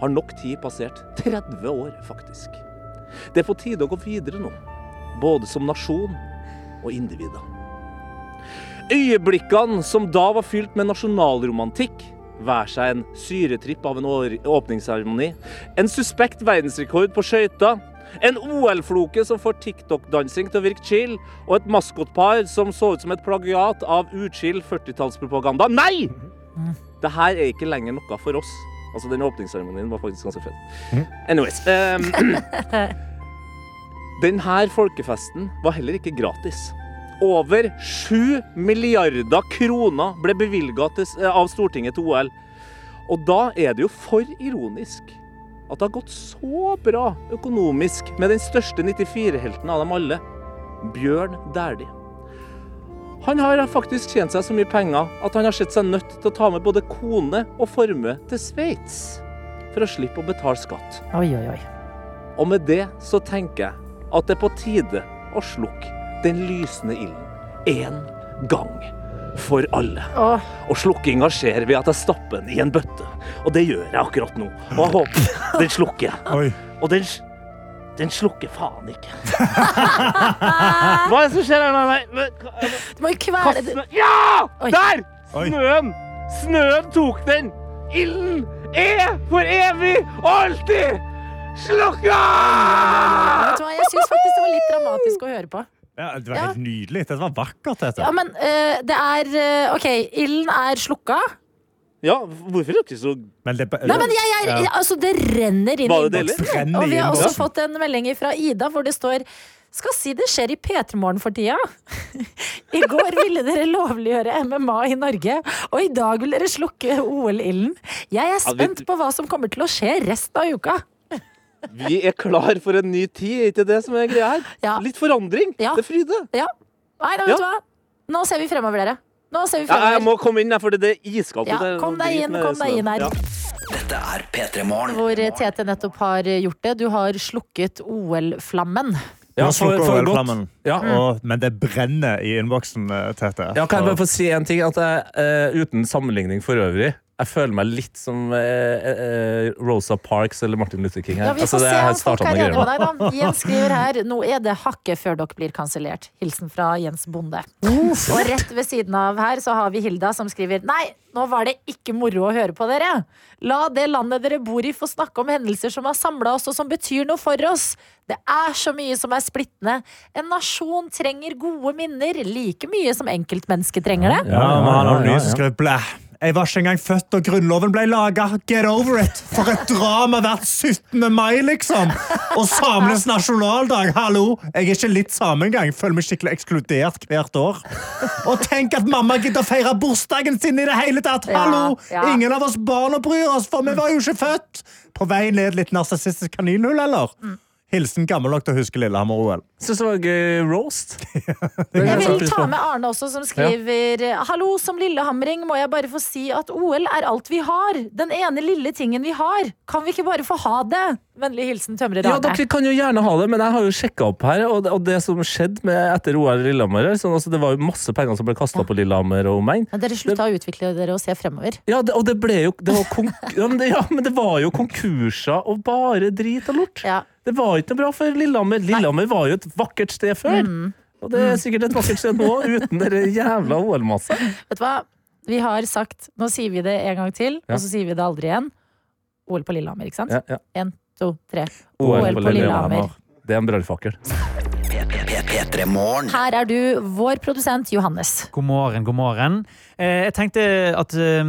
Speaker 4: har nok tid passert 30 år, faktisk. Det er på tide å gå videre nå, både som nasjon og individer. Øyeblikkene som da var fylt med nasjonalromantikk, vær seg en syretripp av en år- åpningsseremoni, en suspekt verdensrekord på skøyter, en OL-floke som får TikTok-dansing til å virke chill, og et maskotpar som så ut som et plagiat av uchill 40-tallspropaganda. Nei! Det her er ikke lenger noe for oss. Altså, den åpningsseremonien var faktisk ganske fett. Anyways. ehm, Denne folkefesten var heller ikke gratis. Over 7 milliarder kroner ble bevilga eh, av Stortinget til OL. Og da er det jo for ironisk at det har gått så bra økonomisk med den største 94-helten av dem alle, Bjørn Dæhlie. Han har faktisk tjent seg så mye penger at han har sett seg nødt til å ta med både kone og formue til Sveits for å slippe å betale skatt.
Speaker 3: Oi, oi, oi.
Speaker 4: Og med det så tenker jeg at det er på tide å slukke den lysende ilden. Én gang for alle.
Speaker 3: Åh.
Speaker 4: Og slukkinga skjer ved at jeg stapper den i en bøtte. Og det gjør jeg akkurat nå. Og jeg håper den slukker.
Speaker 5: Oi.
Speaker 4: Og den, s- den slukker faen ikke. Hva er det som skjer her? Nei, nei, nei.
Speaker 3: Du må jo kvele
Speaker 4: Snø- Ja!
Speaker 3: Oi.
Speaker 4: Der!
Speaker 5: Oi.
Speaker 4: Snøen! Snøen tok den! Ilden er for evig og alltid slukka!
Speaker 3: Vet du hva, Jeg syns faktisk det var litt dramatisk å høre på.
Speaker 5: Ja, det var helt nydelig. Dette var vakkert. Dette.
Speaker 3: Ja, men eh, det er eh, OK, ilden er slukka.
Speaker 4: Ja, hvorfor er dere så
Speaker 5: Men det,
Speaker 3: Nei, men jeg, jeg,
Speaker 5: Ja.
Speaker 3: altså, det renner inn i
Speaker 4: Var det deilig?
Speaker 3: innboksen.
Speaker 5: Renner
Speaker 3: Og vi har
Speaker 5: i
Speaker 3: også
Speaker 5: innboksen.
Speaker 3: fått en melding fra Ida hvor det står skal si det skjer i P3 Morgen for tida. I går ville dere lovliggjøre MMA i Norge, og i dag vil dere slukke OL-ilden. Jeg er
Speaker 4: Ja, vi-
Speaker 3: spent på hva som kommer til å skje resten av uka.
Speaker 4: Vi er klar for en ny tid, er ikke det som er greia her?
Speaker 3: Ja.
Speaker 4: Litt forandring.
Speaker 3: Ja.
Speaker 4: Det er fryde.
Speaker 3: Ja. Nei, da vet
Speaker 4: Ja.
Speaker 3: du hva? Nå ser vi fremover, dere. Nå ser vi
Speaker 4: Ja, jeg
Speaker 3: fremover.
Speaker 4: må komme inn, her, for det er iskaldt.
Speaker 3: Ja,
Speaker 4: Det er
Speaker 3: kom
Speaker 4: noe
Speaker 3: deg
Speaker 4: drit
Speaker 3: inn,
Speaker 4: med
Speaker 3: kom deg
Speaker 4: snøen.
Speaker 3: inn her.
Speaker 4: Ja.
Speaker 1: Dette er P3 Morgen.
Speaker 3: Hvor Tete nettopp har gjort det. Du har slukket OL-flammen.
Speaker 5: Ja,
Speaker 4: Ja,
Speaker 5: for,
Speaker 4: for- for godt.
Speaker 5: flammen.
Speaker 4: Ja.
Speaker 5: Og, men det brenner i innboksen, eh, Tete.
Speaker 4: Ja, kan jeg
Speaker 5: Og-
Speaker 4: bare få si en ting? At jeg, eh, uten sammenligning for øvrig, jeg føler meg litt som eh, eh, Rosa Parks eller Martin Luther King her. Altså,
Speaker 3: Ja, vi får
Speaker 4: det
Speaker 3: se
Speaker 4: her
Speaker 3: om folk
Speaker 4: startet
Speaker 3: er
Speaker 4: med
Speaker 3: enige
Speaker 4: greier.
Speaker 3: med deg, da. Jens skriver her Nå er det hakket før dere blir kansellert. Hilsen fra Jens Bonde. Og rett ved siden av her så har vi Hilda som skriver Nei, nå var det ikke moro å høre på dere. La det landet dere bor i få snakke om hendelser som har samla oss og som betyr noe for oss. Det er så mye som er splittende. En nasjon trenger gode minner like mye som enkeltmennesket trenger det.
Speaker 5: Ja, men han
Speaker 4: ja,
Speaker 5: har
Speaker 4: ja,
Speaker 5: ny som skrev blæ. Jeg var ikke engang født, og grunnloven ble laga. Get over it! For et drama hvert 17. mai, liksom! Og samenes nasjonaldag, hallo! Jeg er ikke litt same engang. Føler meg skikkelig ekskludert hvert år. Og tenk at mamma gidder å feire bursdagen sin i det hele tatt! Hallo!
Speaker 3: Ja, ja.
Speaker 5: Ingen av oss barna bryr oss, for vi var jo ikke født! På vei ned litt narsissistisk kaninhull, eller?
Speaker 3: Mm.
Speaker 5: Hilsen gammel nok til å huske Lillehammer-OL.
Speaker 4: Syns det var en gøy roast.
Speaker 3: Jeg vil ta med Arne også, som skriver Hallo, som lillehamring må jeg bare få si at OL er alt vi har. Den ene lille tingen vi har. Kan vi ikke bare få ha det? Vennlig hilsen tømrer
Speaker 4: Ja,
Speaker 3: Arne.
Speaker 4: dere kan jo gjerne ha det, men jeg har jo sjekka opp her, og det, og det som skjedde med etter OL i Lillehammer her, sånn, altså, Det var jo masse penger som ble kasta på Lillehammer og omegn.
Speaker 3: Men dere slutta å utvikle dere og se fremover.
Speaker 4: Ja, det, og det ble jo det var konk ja, men det, ja, men det var jo konkurser og bare drit og lort.
Speaker 3: Ja.
Speaker 4: Det var ikke noe bra for Lillehammer. Lillehammer var jo et vakkert sted før. Og det er sikkert et vakkert sted nå, uten dere jævla OL-masse.
Speaker 3: Vet du hva? Vi har sagt Nå sier vi det en gang til,
Speaker 4: Ja.
Speaker 3: og så sier vi det aldri igjen. OL på Lillehammer, ikke sant?
Speaker 4: Ja, ja.
Speaker 3: En, to, tre.
Speaker 4: OL
Speaker 3: OL
Speaker 4: på
Speaker 3: på Lillehammer.
Speaker 4: Det er en brannfakkel.
Speaker 1: P3 Morgen.
Speaker 3: Her er du, vår produsent Johannes.
Speaker 9: God morgen, god morgen. Eh, jeg tenkte at eh,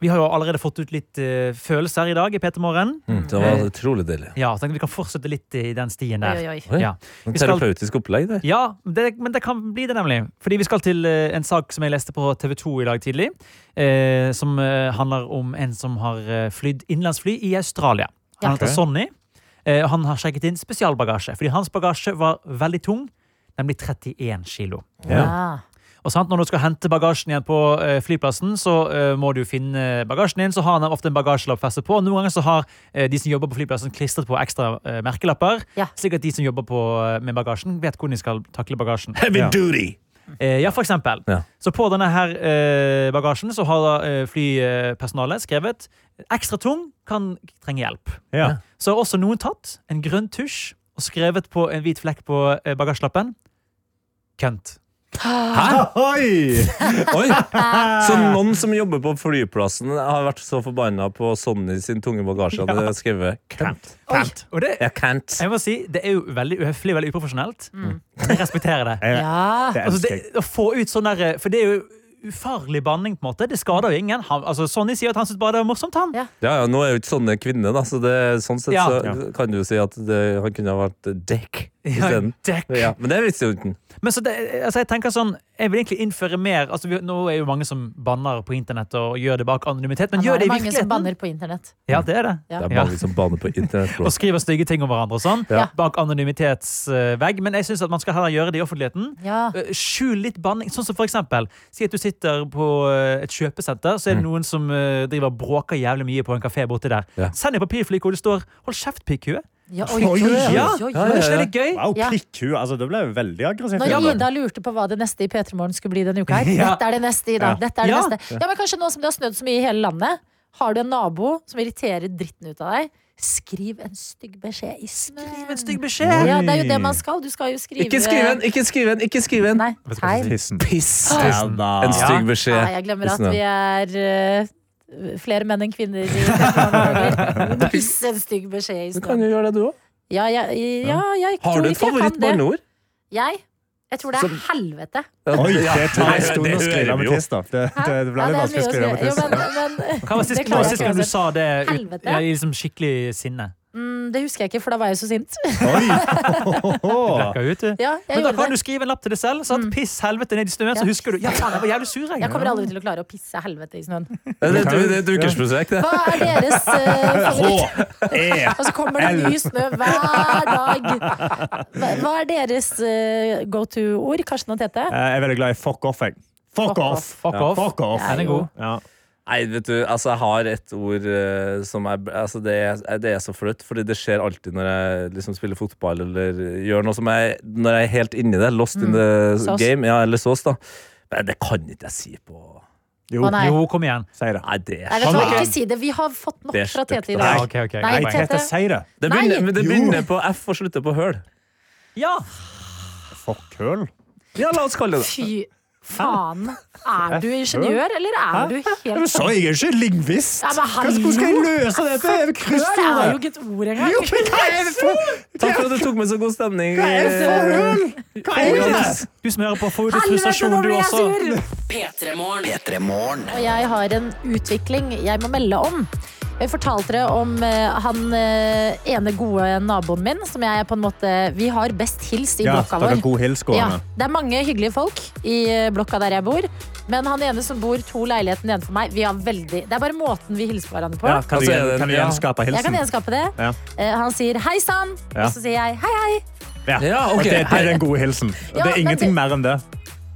Speaker 9: vi har jo allerede fått ut litt eh, følelser i dag i P3 Morgen.
Speaker 4: Mm, Det var utrolig deilig.
Speaker 9: Ja, så tenkte vi kan fortsette litt i den stien
Speaker 3: Oi,
Speaker 9: der.
Speaker 3: oi, oi.
Speaker 4: Oi.
Speaker 9: Ja.
Speaker 4: En
Speaker 9: Vi skal-
Speaker 4: Terapeutisk opplegg der.
Speaker 9: Ja, det, men det kan bli det, nemlig. Fordi vi skal til eh, en sak som jeg leste på TV 2 i dag tidlig. Eh, som eh, handler om en som har eh, flydd innenlandsfly i Australia. Han
Speaker 3: Ja.
Speaker 9: heter
Speaker 5: Ok.
Speaker 9: Sonny. Eh, og han har sjekket inn spesialbagasje. Fordi hans bagasje var veldig tung, nemlig 31 kilo.
Speaker 3: Ja.
Speaker 9: Og sant, når du skal hente bagasjen igjen på eh, flyplassen, så eh, må du finne bagasjen din. Så har han ofte en bagasjelapp festet på. Noen ganger så har eh, de som jobber på flyplassen klistret på ekstra eh, merkelapper,
Speaker 3: Ja.
Speaker 9: slik at de som jobber på, eh, med bagasjen, vet hvordan de skal takle bagasjen.
Speaker 4: Heavy
Speaker 5: Ja.
Speaker 4: duty!
Speaker 9: Eh, ja, for eksempel.
Speaker 4: Ja.
Speaker 9: Så på denne her eh, bagasjen så har da, eh, flypersonalet skrevet ekstra tung kan trenge hjelp.
Speaker 5: Ja.
Speaker 9: Så har også noen tatt en grønn tusj og skrevet på en hvit flekk på eh, bagasjelappen. Kønt.
Speaker 5: Oi!
Speaker 4: Oi! Så noen som jobber på flyplassen, har vært så forbanna på Sonny sin tunge bagasje at de har skrevet Kant.
Speaker 9: Kønt. Og det,
Speaker 4: Jeg can't.
Speaker 9: jeg må si, det er jo veldig uhøflig,
Speaker 3: Mm.
Speaker 9: veldig uprofesjonelt. Jeg respekterer det.
Speaker 5: Jeg,
Speaker 3: ja.
Speaker 5: Eh, det
Speaker 9: Altså,
Speaker 5: elsker jeg.
Speaker 9: det, å få ut sånn der, For det er jo ufarlig banning. på en måte. Det skader jo ingen. Han, altså, Sonny sier at han syns bare det var morsomt. han.
Speaker 3: Ja.
Speaker 4: Ja, ja, nå er jo ikke sånne kvinner, da, så det, sånn sett
Speaker 9: Ja.
Speaker 4: så kan du jo si at det, han kunne ha vært dekk isteden.
Speaker 9: dekk.
Speaker 4: Ja, men det visste jo ikke han.
Speaker 9: Men så det, altså jeg tenker sånn, jeg vil egentlig innføre mer altså vi, Nå er jo mange som banner på internett og gjør det bak anonymitet, men
Speaker 3: Nå
Speaker 9: gjør
Speaker 3: er det
Speaker 9: det i
Speaker 3: mange som
Speaker 9: virkeligheten.
Speaker 3: banner på internett.
Speaker 9: Ja, det er det.
Speaker 4: Det er
Speaker 9: Ja.
Speaker 4: mange som baner på internett. bro.
Speaker 9: Og skriver stygge ting om hverandre og sånn,
Speaker 3: Ja.
Speaker 9: bak anonymitetsvegg. Men jeg syns man skal heller gjøre det i offentligheten.
Speaker 3: Ja.
Speaker 9: Eh, Skjul litt banning. Sånn som for eksempel, Si at du sitter på eh, et kjøpesenter, så er
Speaker 5: Mm.
Speaker 9: det noen som eh, driver og bråker jævlig mye på en kafé borti der.
Speaker 4: Ja.
Speaker 9: Send en papirflik hvor det står 'hold kert, pikkhue'.
Speaker 3: Ja,
Speaker 5: Oi, oi,
Speaker 9: Ja!
Speaker 3: oi, oi.
Speaker 9: Men er ikke det litt gøy?
Speaker 5: Wow,
Speaker 3: Ja.
Speaker 5: prikkhue. Altså, det ble jo veldig aggressivt.
Speaker 3: Når
Speaker 5: Ja,
Speaker 3: Ida lurte på hva det neste i P3 Morgen skulle bli denne uka her.
Speaker 9: Ja.
Speaker 3: Dette er det neste, Ida.
Speaker 5: Ja.
Speaker 3: Dette er det
Speaker 9: Ja.
Speaker 3: neste. Ja, men kanskje nå som det har snødd så mye i hele landet, har du en nabo som irriterer dritten ut av deg, skriv en stygg beskjed i
Speaker 9: Skriv en
Speaker 3: snøen.
Speaker 9: stygg beskjed.
Speaker 3: Ja, det er jo det man skal. Du skal jo skrive
Speaker 4: Ikke skriv en! Ikke skriv en! Ikke skriv en!
Speaker 3: Nei, tegn.
Speaker 5: Tissen.
Speaker 4: Piss!
Speaker 5: Ja, da.
Speaker 4: En stygg beskjed.
Speaker 3: Nei, jeg glemmer at
Speaker 4: Pissen,
Speaker 3: vi
Speaker 4: ja.
Speaker 3: er eh, flere menn enn kvinner. i P3 Morgen. Piss en stygg beskjed i
Speaker 4: Du kan
Speaker 3: snøen.
Speaker 4: jo gjøre det, du òg.
Speaker 3: Ja, jeg- ja, jeg
Speaker 4: Har
Speaker 3: tror
Speaker 4: du et
Speaker 3: ikke jeg kan det.
Speaker 4: favorittbarneord?
Speaker 3: Jeg? Jeg tror det er helvete.
Speaker 5: Oi, det tar en
Speaker 4: det-
Speaker 5: stund
Speaker 4: det
Speaker 5: å skrive
Speaker 4: hører vi
Speaker 5: med
Speaker 4: jo.
Speaker 5: tiss, da. Det, det, det ble
Speaker 3: Ja,
Speaker 5: litt
Speaker 3: det er
Speaker 5: vanskelig å skrive
Speaker 3: mye å
Speaker 5: med
Speaker 3: skrive. Jo,
Speaker 5: tiss.
Speaker 3: men, men,
Speaker 9: Hva var sist,
Speaker 3: Det klarer
Speaker 9: sist
Speaker 3: jeg ikke
Speaker 9: gang
Speaker 3: altså.
Speaker 9: du sa det ut,
Speaker 3: Helvete.
Speaker 9: ja, i liksom skikkelig sinne?
Speaker 3: Mm, det husker jeg ikke, for da var jeg jo så sint.
Speaker 5: Oi!
Speaker 9: Blacka ut, du.
Speaker 3: Ja, jeg
Speaker 9: Men
Speaker 3: gjorde
Speaker 9: da kan
Speaker 3: det. Mm.
Speaker 9: du skrive en lapp til deg selv. Sant? Piss helvete ned i snøen, så
Speaker 3: Ja.
Speaker 9: husker du. Ja, faen, jeg var jævlig sur, jeg.
Speaker 3: Jeg kommer aldri til å klare å pisse helvete i snøen.
Speaker 4: Det er et- det er et ukersbesøk, det.
Speaker 3: Hva er deres eh, favoritt?
Speaker 5: H-E.
Speaker 3: Og så kommer det ny snø hver dag. Hva- Hva er deres eh, go to-ord? Karsten og Tete?
Speaker 5: Jeg er veldig glad i fuck off, jeg. Fuck
Speaker 3: Fuck
Speaker 5: off!
Speaker 3: off.
Speaker 9: Fuck off.
Speaker 5: Fuck off.
Speaker 9: Den er god.
Speaker 5: Ja.
Speaker 4: Nei, vet du, altså jeg har et ord eh, som er altså, det, er, det er så flaut, fordi det skjer alltid når jeg liksom spiller fotball eller gjør noe som jeg Når jeg er helt inni det. Lost
Speaker 3: Mm.
Speaker 4: in the
Speaker 3: Sås.
Speaker 4: game. Ja, eller sås, da. Men det kan ikke jeg si på
Speaker 5: Jo,
Speaker 3: Å, nei.
Speaker 9: Jo, kom igjen.
Speaker 5: si det.
Speaker 4: Nei, det
Speaker 3: Nei,
Speaker 4: er
Speaker 3: vet du hva,
Speaker 5: Fuck.
Speaker 3: ikke si det. Vi har fått nok
Speaker 4: Det er
Speaker 3: fra Tete i
Speaker 4: stygt,
Speaker 5: Nei.
Speaker 9: Ja,
Speaker 3: dag.
Speaker 9: ok, ok.
Speaker 3: Nei,
Speaker 9: greit.
Speaker 3: Tete.
Speaker 5: Tete, si det.
Speaker 4: Det
Speaker 3: Nei.
Speaker 4: begynner, men det
Speaker 5: Jo.
Speaker 4: begynner på F og slutter på høl.
Speaker 9: Ja.
Speaker 5: Fuck høl.
Speaker 4: Ja, la oss kalle det det.
Speaker 3: Fy faen. Er du ingeniør, eller er du helt
Speaker 5: Så jeg er ikke lingvist!
Speaker 3: Ja, men hallo.
Speaker 5: Hvordan skal jeg løse dette? Jeg er
Speaker 3: Det er jo
Speaker 5: kryssordet.
Speaker 3: ikke et ord
Speaker 5: Jo, men
Speaker 3: engang.
Speaker 5: hva er det for
Speaker 4: Takk for at du tok med så god stemning.
Speaker 5: Hva er det for høl? Hva er det?
Speaker 9: Du som hører på, får ut litt
Speaker 3: Helvete,
Speaker 9: frustrasjon,
Speaker 3: nå
Speaker 9: du
Speaker 3: ble jeg
Speaker 9: også.
Speaker 3: sur!
Speaker 2: P3morgen.
Speaker 1: P3morgen.
Speaker 3: Og jeg har en utvikling jeg må melde om. Jeg fortalte dere om eh, han eh, ene gode naboen min, som jeg på en måte Vi har best hilst i
Speaker 5: Ja,
Speaker 3: blokka vår.
Speaker 5: dere er god hils
Speaker 3: Ja,
Speaker 5: gående.
Speaker 3: det er mange hyggelige folk i eh, blokka der jeg bor. Men han ene som bor to leiligheten nedenfor meg, vi har veldig Det er bare måten vi hilser på hverandre på.
Speaker 5: Ja, kan,
Speaker 4: Altså, er
Speaker 5: du,
Speaker 4: det-
Speaker 5: kan du
Speaker 4: ja.
Speaker 3: Jeg
Speaker 5: gjenskape
Speaker 3: kan
Speaker 5: hilsen?
Speaker 3: gjenskape det.
Speaker 5: Ja.
Speaker 3: Eh, Han sier 'hei sann',
Speaker 5: Ja.
Speaker 3: og så sier jeg 'hei, hei'.
Speaker 4: Ja, ok.
Speaker 5: Og det, det er den gode hilsen. Og
Speaker 3: Ja,
Speaker 5: det er
Speaker 3: men
Speaker 5: ingenting
Speaker 3: det-
Speaker 5: mer enn det.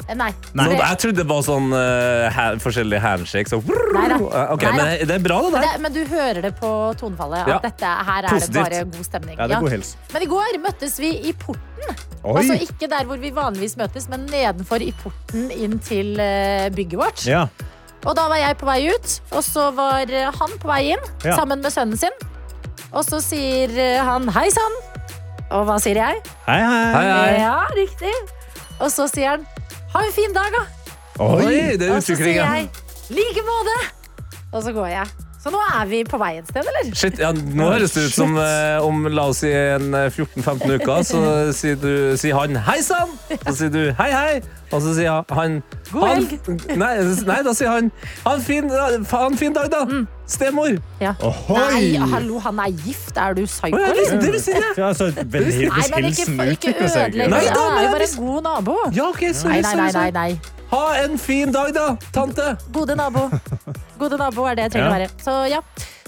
Speaker 3: Eh, Nei.
Speaker 4: Nå,
Speaker 3: Så det-
Speaker 4: jeg trodde det var sånn eh, ha- forskjellige handshakes og
Speaker 3: Nei da.
Speaker 4: Ok,
Speaker 3: Nei da.
Speaker 4: men det- det er bra, det der.
Speaker 3: det, men du hører det på tonefallet. At
Speaker 4: Ja.
Speaker 3: dette her er
Speaker 4: Positivt.
Speaker 3: det bare god stemning.
Speaker 5: Ja, det
Speaker 3: Ja.
Speaker 5: er god hils.
Speaker 3: Men i går møttes vi i porten.
Speaker 5: Oi!
Speaker 3: Altså ikke der hvor vi vanligvis møtes, men nedenfor i porten inn til eh, bygget vårt.
Speaker 5: Ja.
Speaker 3: Og da var jeg på vei ut, og så var eh, han på vei inn
Speaker 5: Ja.
Speaker 3: sammen med sønnen sin. Og så sier eh, han hei sann. Og hva sier jeg?
Speaker 5: Hei, hei.
Speaker 4: Hei, hei.
Speaker 3: Ja, riktig. Og så sier han ha en fin dag, da.
Speaker 4: Oi, det er
Speaker 3: Og så sier
Speaker 4: utvikling, ja.
Speaker 3: jeg like måte. Og så går jeg. Så nå er vi på vei et sted, eller?
Speaker 4: Shit, ja, Nå høres det ut som eh, om la oss si en eh, 14-15 uker, så sier, du, sier han 'hei sann', så sier du 'hei, hei', og så sier han 'god helg'. Nei, nei, da sier han 'ha en fin, ha en fin dag, da,
Speaker 3: Mm.
Speaker 4: stemor'.
Speaker 3: Nei,
Speaker 5: Ohoi!
Speaker 3: hallo, han er gift. Er du psyko?
Speaker 4: Å, ja, det,
Speaker 3: liksom?
Speaker 4: det vil si det.
Speaker 5: Ja, altså, veldig-
Speaker 3: Nei,
Speaker 5: Hvis
Speaker 3: men ikke,
Speaker 5: hilsen
Speaker 3: ikke
Speaker 5: utvikler seg
Speaker 3: ødelegg.
Speaker 4: Nei,
Speaker 3: det.
Speaker 4: da,
Speaker 3: Han er
Speaker 4: men
Speaker 3: jo bare
Speaker 4: hvis-
Speaker 3: en god nabo.
Speaker 4: Ja, ok, sorry,
Speaker 3: Nei, nei,
Speaker 4: sorry,
Speaker 3: nei,
Speaker 4: sorry.
Speaker 3: nei.
Speaker 4: Ha en fin dag, da, tante.
Speaker 3: Gode nabo. Gode nabo er det jeg trenger å
Speaker 5: Ja.
Speaker 3: være. Så ja,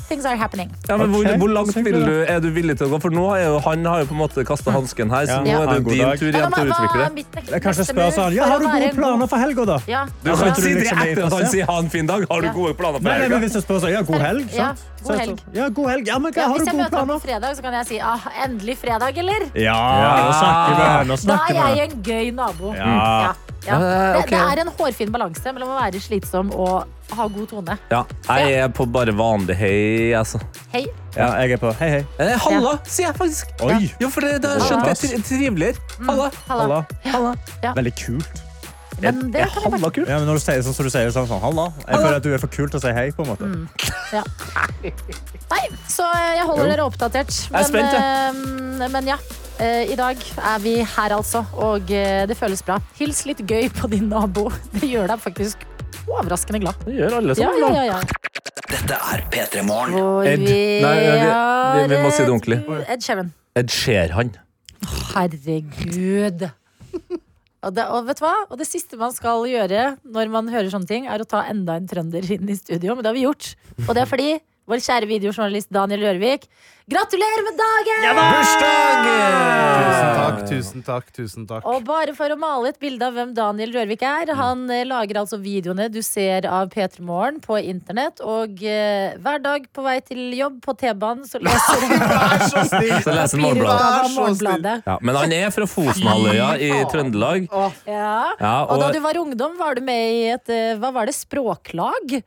Speaker 3: things are happening.
Speaker 4: Ja, men hvor,
Speaker 5: Ok,
Speaker 4: hvor langt
Speaker 5: så hyggelig
Speaker 4: vil du, er du villig til å gå? For nå er jo, han har jo på en måte kasta hansken her,
Speaker 5: Ja.
Speaker 4: så nå
Speaker 5: Ja.
Speaker 4: er det
Speaker 5: Ha en
Speaker 4: jo
Speaker 5: god
Speaker 4: din
Speaker 5: dag.
Speaker 4: tur igjen til å utvikle det.
Speaker 3: mitt ne-
Speaker 5: Jeg kan ikke
Speaker 3: neste
Speaker 5: spørre
Speaker 3: move
Speaker 5: sånn, ja,
Speaker 3: for
Speaker 5: har
Speaker 3: å
Speaker 5: du
Speaker 3: være
Speaker 5: gode
Speaker 3: en
Speaker 5: planer for helga, da?
Speaker 3: Ja.
Speaker 4: Du
Speaker 5: Ja,
Speaker 4: kan
Speaker 5: men
Speaker 4: ikke
Speaker 5: tror
Speaker 4: si
Speaker 5: du
Speaker 4: det
Speaker 5: liksom er
Speaker 4: etter at han
Speaker 5: interessert?
Speaker 4: sier 'ha en fin dag'. Har du
Speaker 3: Ja.
Speaker 4: gode planer for
Speaker 5: Nei, nei, men
Speaker 4: helga?
Speaker 5: hvis jeg spør sånn, ja, god helg,
Speaker 3: Ja, god
Speaker 5: sant? Så er det
Speaker 3: helg.
Speaker 5: sånn, Ja, god helg. Ja, men hva,
Speaker 3: Ja, hvis
Speaker 5: har du
Speaker 3: jeg
Speaker 5: gode
Speaker 3: møter ham på
Speaker 5: planer?
Speaker 3: fredag, så kan jeg si ah, 'endelig fredag', eller?
Speaker 5: Ja, nå snakker vi, nå
Speaker 3: Da
Speaker 5: snakker
Speaker 3: er
Speaker 5: vi.
Speaker 3: jeg en gøy nabo.
Speaker 5: Ja.
Speaker 3: Ja.
Speaker 4: Eh,
Speaker 3: Det,
Speaker 4: ok.
Speaker 3: det er en hårfin balanse mellom å være slitsom og ha god tone.
Speaker 4: Ja, jeg er på bare vanlig hei, altså.
Speaker 3: Hei.
Speaker 5: Ja, jeg er på. Hei, hei.
Speaker 4: Eh, halla, sier jeg faktisk.
Speaker 5: Oi!
Speaker 4: Jo, for det, da
Speaker 5: Halla.
Speaker 4: skjønte jeg tri- triveligere. Halla.
Speaker 3: Halla.
Speaker 5: Halla. Veldig kult.
Speaker 3: Men det
Speaker 4: Er
Speaker 3: kan jeg
Speaker 4: halla kult?
Speaker 5: Ja, men når du sier sånn som du sier sånn, sånn halla, jeg føler at du er for kul til å si hei, på en
Speaker 3: Mm.
Speaker 5: måte.
Speaker 3: Nei, så jeg holder dere oppdatert.
Speaker 4: Jeg er spent,
Speaker 3: eh, men ja. eh, I dag er vi her, altså, og eh, det føles bra. Hils litt gøy på din nabo. Det gjør deg faktisk overraskende glad.
Speaker 4: Det gjør alle
Speaker 3: Ja,
Speaker 4: sammen.
Speaker 3: ja, ja, ja.
Speaker 1: Dette er P3 Morgen.
Speaker 3: Hvor
Speaker 4: Ed.
Speaker 3: vi
Speaker 4: Nei, vi- vi- vi må si det
Speaker 3: har
Speaker 4: ordentlig.
Speaker 3: et- Ed Sheeran.
Speaker 4: Ed Sheeran.
Speaker 3: Herregud. Og det, og vet du hva? Og det siste man skal gjøre når man hører sånne ting, er å ta enda en trønder inn i studio, men det har vi gjort. Og det er fordi vår kjære videojournalist Daniel Rørvik Gratulerer med dagen!
Speaker 11: Tusen takk, tusen takk, tusen takk.
Speaker 3: Og bare for å male et bilde av hvem Daniel Rørvik er Han eh, lager altså videoene du ser av P3 Morgen på internett. Og eh, hver dag på vei til jobb på T-banen så leser han
Speaker 11: Vær så snill!
Speaker 4: Så leser han
Speaker 3: papirutgave av
Speaker 4: Morgenbladet.
Speaker 11: Vær så
Speaker 3: Morgenbladet.
Speaker 4: Ja, men han er fra Fosenhalvøya i Trøndelag.
Speaker 3: Ja.
Speaker 4: Ja,
Speaker 3: Og da
Speaker 4: og
Speaker 3: du var ungdom, var du med i et eh, hva var det, språklag?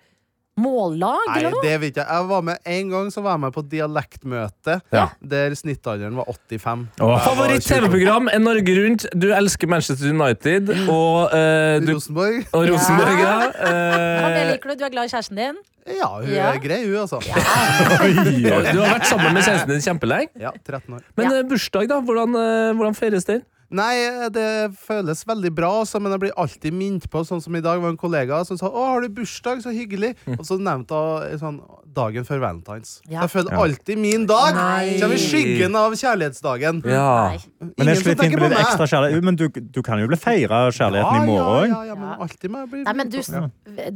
Speaker 3: Mållag,
Speaker 11: Nei,
Speaker 3: eller noe?
Speaker 11: det vet jeg. jeg var med, en gang så var jeg med på dialektmøte, der snittalderen var 85. Jeg var
Speaker 4: favoritt-TV-program er Norge Rundt. Du elsker Manchester United
Speaker 5: Mm.
Speaker 4: og, eh,
Speaker 11: 20.
Speaker 4: du,
Speaker 11: Rosenborg?
Speaker 4: og Rosenborg. Ja.
Speaker 3: Hva mer
Speaker 4: Eh,
Speaker 3: liker du? Du er glad i kjæresten din?
Speaker 11: Ja, hun
Speaker 3: Ja.
Speaker 11: er grei, hun, altså.
Speaker 4: du har vært sammen med kjæresten din kjempelenge.
Speaker 11: Ja, 13 år.
Speaker 4: Men eh, bursdag, da? Hvordan, eh, hvordan feires den?
Speaker 11: Nei, det føles veldig bra, altså, men jeg blir alltid minnet på, sånn som i dag, var en kollega som sa 'Å, har du bursdag? Så hyggelig.'
Speaker 5: Mm.
Speaker 11: Og så nevnte hun sånn, dagen før valentines.
Speaker 3: Ja.
Speaker 11: Jeg føler alltid min dag
Speaker 3: Nei.
Speaker 11: kommer i skyggen av kjærlighetsdagen.
Speaker 4: Ja.
Speaker 5: Men det er
Speaker 11: Ingen
Speaker 5: litt
Speaker 11: som
Speaker 5: fint
Speaker 11: tenker
Speaker 5: med
Speaker 11: på
Speaker 5: litt ekstra
Speaker 11: meg.
Speaker 5: kjærlighet. Men du, du kan jo bli feira kjærligheten i morgen
Speaker 11: ja,
Speaker 5: òg.
Speaker 11: ja, ja, men alltid må jeg bli
Speaker 3: Nei, men du,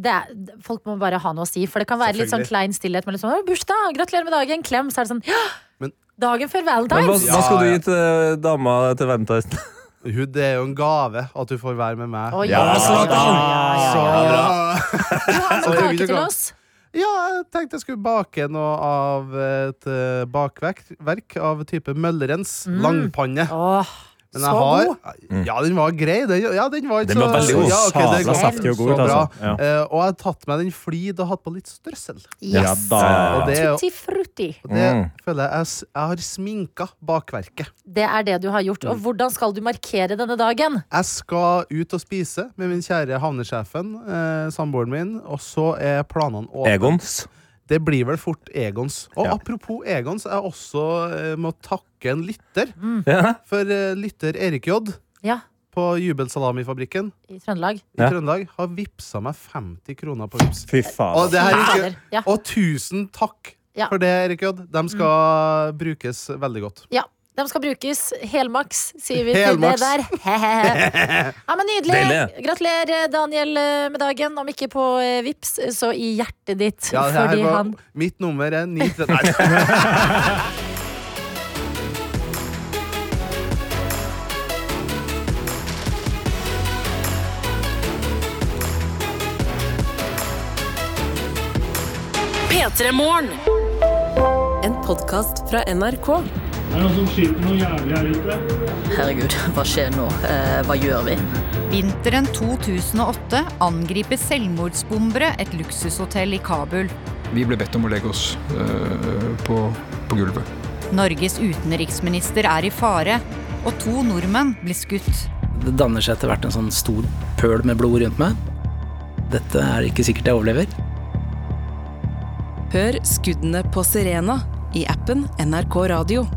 Speaker 3: det er, folk må bare ha noe å si, for det kan være litt sånn
Speaker 11: Selvfølgelig.
Speaker 3: klein stillhet. Men liksom, «Å, 'Bursdag! Gratulerer med dagen!' Klem, så er det sånn «Ja,
Speaker 11: Men-
Speaker 3: Dagen før
Speaker 4: Men hva,
Speaker 3: Valentine's!
Speaker 4: hva skal du gi til eh, dama til Valentine's?
Speaker 11: Hun, det er jo en gave at du får være med meg.
Speaker 3: Å,
Speaker 4: Ja, Zlatan!
Speaker 3: ja, ja, ja.
Speaker 11: ja.
Speaker 3: Du har
Speaker 11: Så
Speaker 3: noe
Speaker 11: det vil
Speaker 3: kake
Speaker 11: du
Speaker 3: til
Speaker 11: ikke ha.
Speaker 3: oss.
Speaker 11: ja, jeg tenkte jeg skulle bake noe av et eh, bakverk verk av type Møllerens langpanne.
Speaker 3: Mm. Åh,
Speaker 11: Men
Speaker 3: så
Speaker 11: jeg har,
Speaker 3: god!
Speaker 11: Ja, den var grei. Den, ja, den var, ikke
Speaker 4: Den var
Speaker 11: så-
Speaker 4: veldig god.
Speaker 11: Ja, ok, det
Speaker 5: Sabla
Speaker 11: er
Speaker 5: saftig og god
Speaker 11: så
Speaker 5: ut,
Speaker 11: bra.
Speaker 5: altså. Ja.
Speaker 11: Eh, og jeg har tatt med den flid og hatt på litt strøssel.
Speaker 5: Ja,
Speaker 3: Yes!
Speaker 11: Og
Speaker 5: da.
Speaker 11: det, er jo-
Speaker 3: Tutti frutti.
Speaker 11: og det
Speaker 4: Mm.
Speaker 11: føler jeg jeg, s- jeg har sminka bakverket.
Speaker 3: Det er det du har gjort.
Speaker 11: Mm.
Speaker 3: Og hvordan skal du markere denne dagen?
Speaker 11: Jeg skal ut og spise med min kjære havnesjefen, eh, samboeren min, og så er planene åpne.
Speaker 4: Egons.
Speaker 11: Det blir vel fort Egons. Og
Speaker 4: Ja.
Speaker 11: apropos Egons, jeg også eh, må takke en lytter.
Speaker 4: Ja.
Speaker 11: For eh, lytter Erik J.
Speaker 3: Ja,
Speaker 11: på Jubelsalamifabrikken
Speaker 3: i Trøndelag.
Speaker 11: i
Speaker 4: Ja.
Speaker 11: Trøndelag har vippsa meg 50 kroner på Vipps.
Speaker 5: Fy
Speaker 11: Og,
Speaker 5: faen.
Speaker 11: det her er
Speaker 3: Fader,
Speaker 11: ikke,
Speaker 3: ja.
Speaker 11: og tusen takk
Speaker 3: Ja.
Speaker 11: for det, Erik J. De skal brukes veldig godt.
Speaker 3: Ja, de skal brukes helmaks, sier vi til det
Speaker 11: Helmaks.
Speaker 3: der. ja, men Nydelig!
Speaker 4: Deilig.
Speaker 3: Gratulerer, Daniel, eh, med dagen. Om ikke på eh, Vips, så i hjertet ditt.
Speaker 11: Ja, det her
Speaker 3: fordi
Speaker 11: var-
Speaker 3: han
Speaker 11: Mitt nummer er 930.
Speaker 2: P3 Morgen.
Speaker 12: En podkast fra NRK.
Speaker 2: Herregud, hva skjer nå? Eh, hva gjør vi?
Speaker 12: Vinteren 2008 angriper selvmordsbombere et luksushotell i Kabul.
Speaker 13: Vi ble bedt om å legge oss eh, på, på gulvet.
Speaker 12: Norges utenriksminister er i fare, og to nordmenn blir skutt.
Speaker 14: Det danner seg etter hvert en sånn stor pøl med blod rundt meg. Dette er ikke sikkert jeg overlever.
Speaker 2: Hør skuddene på Sirena i appen NRK Radio.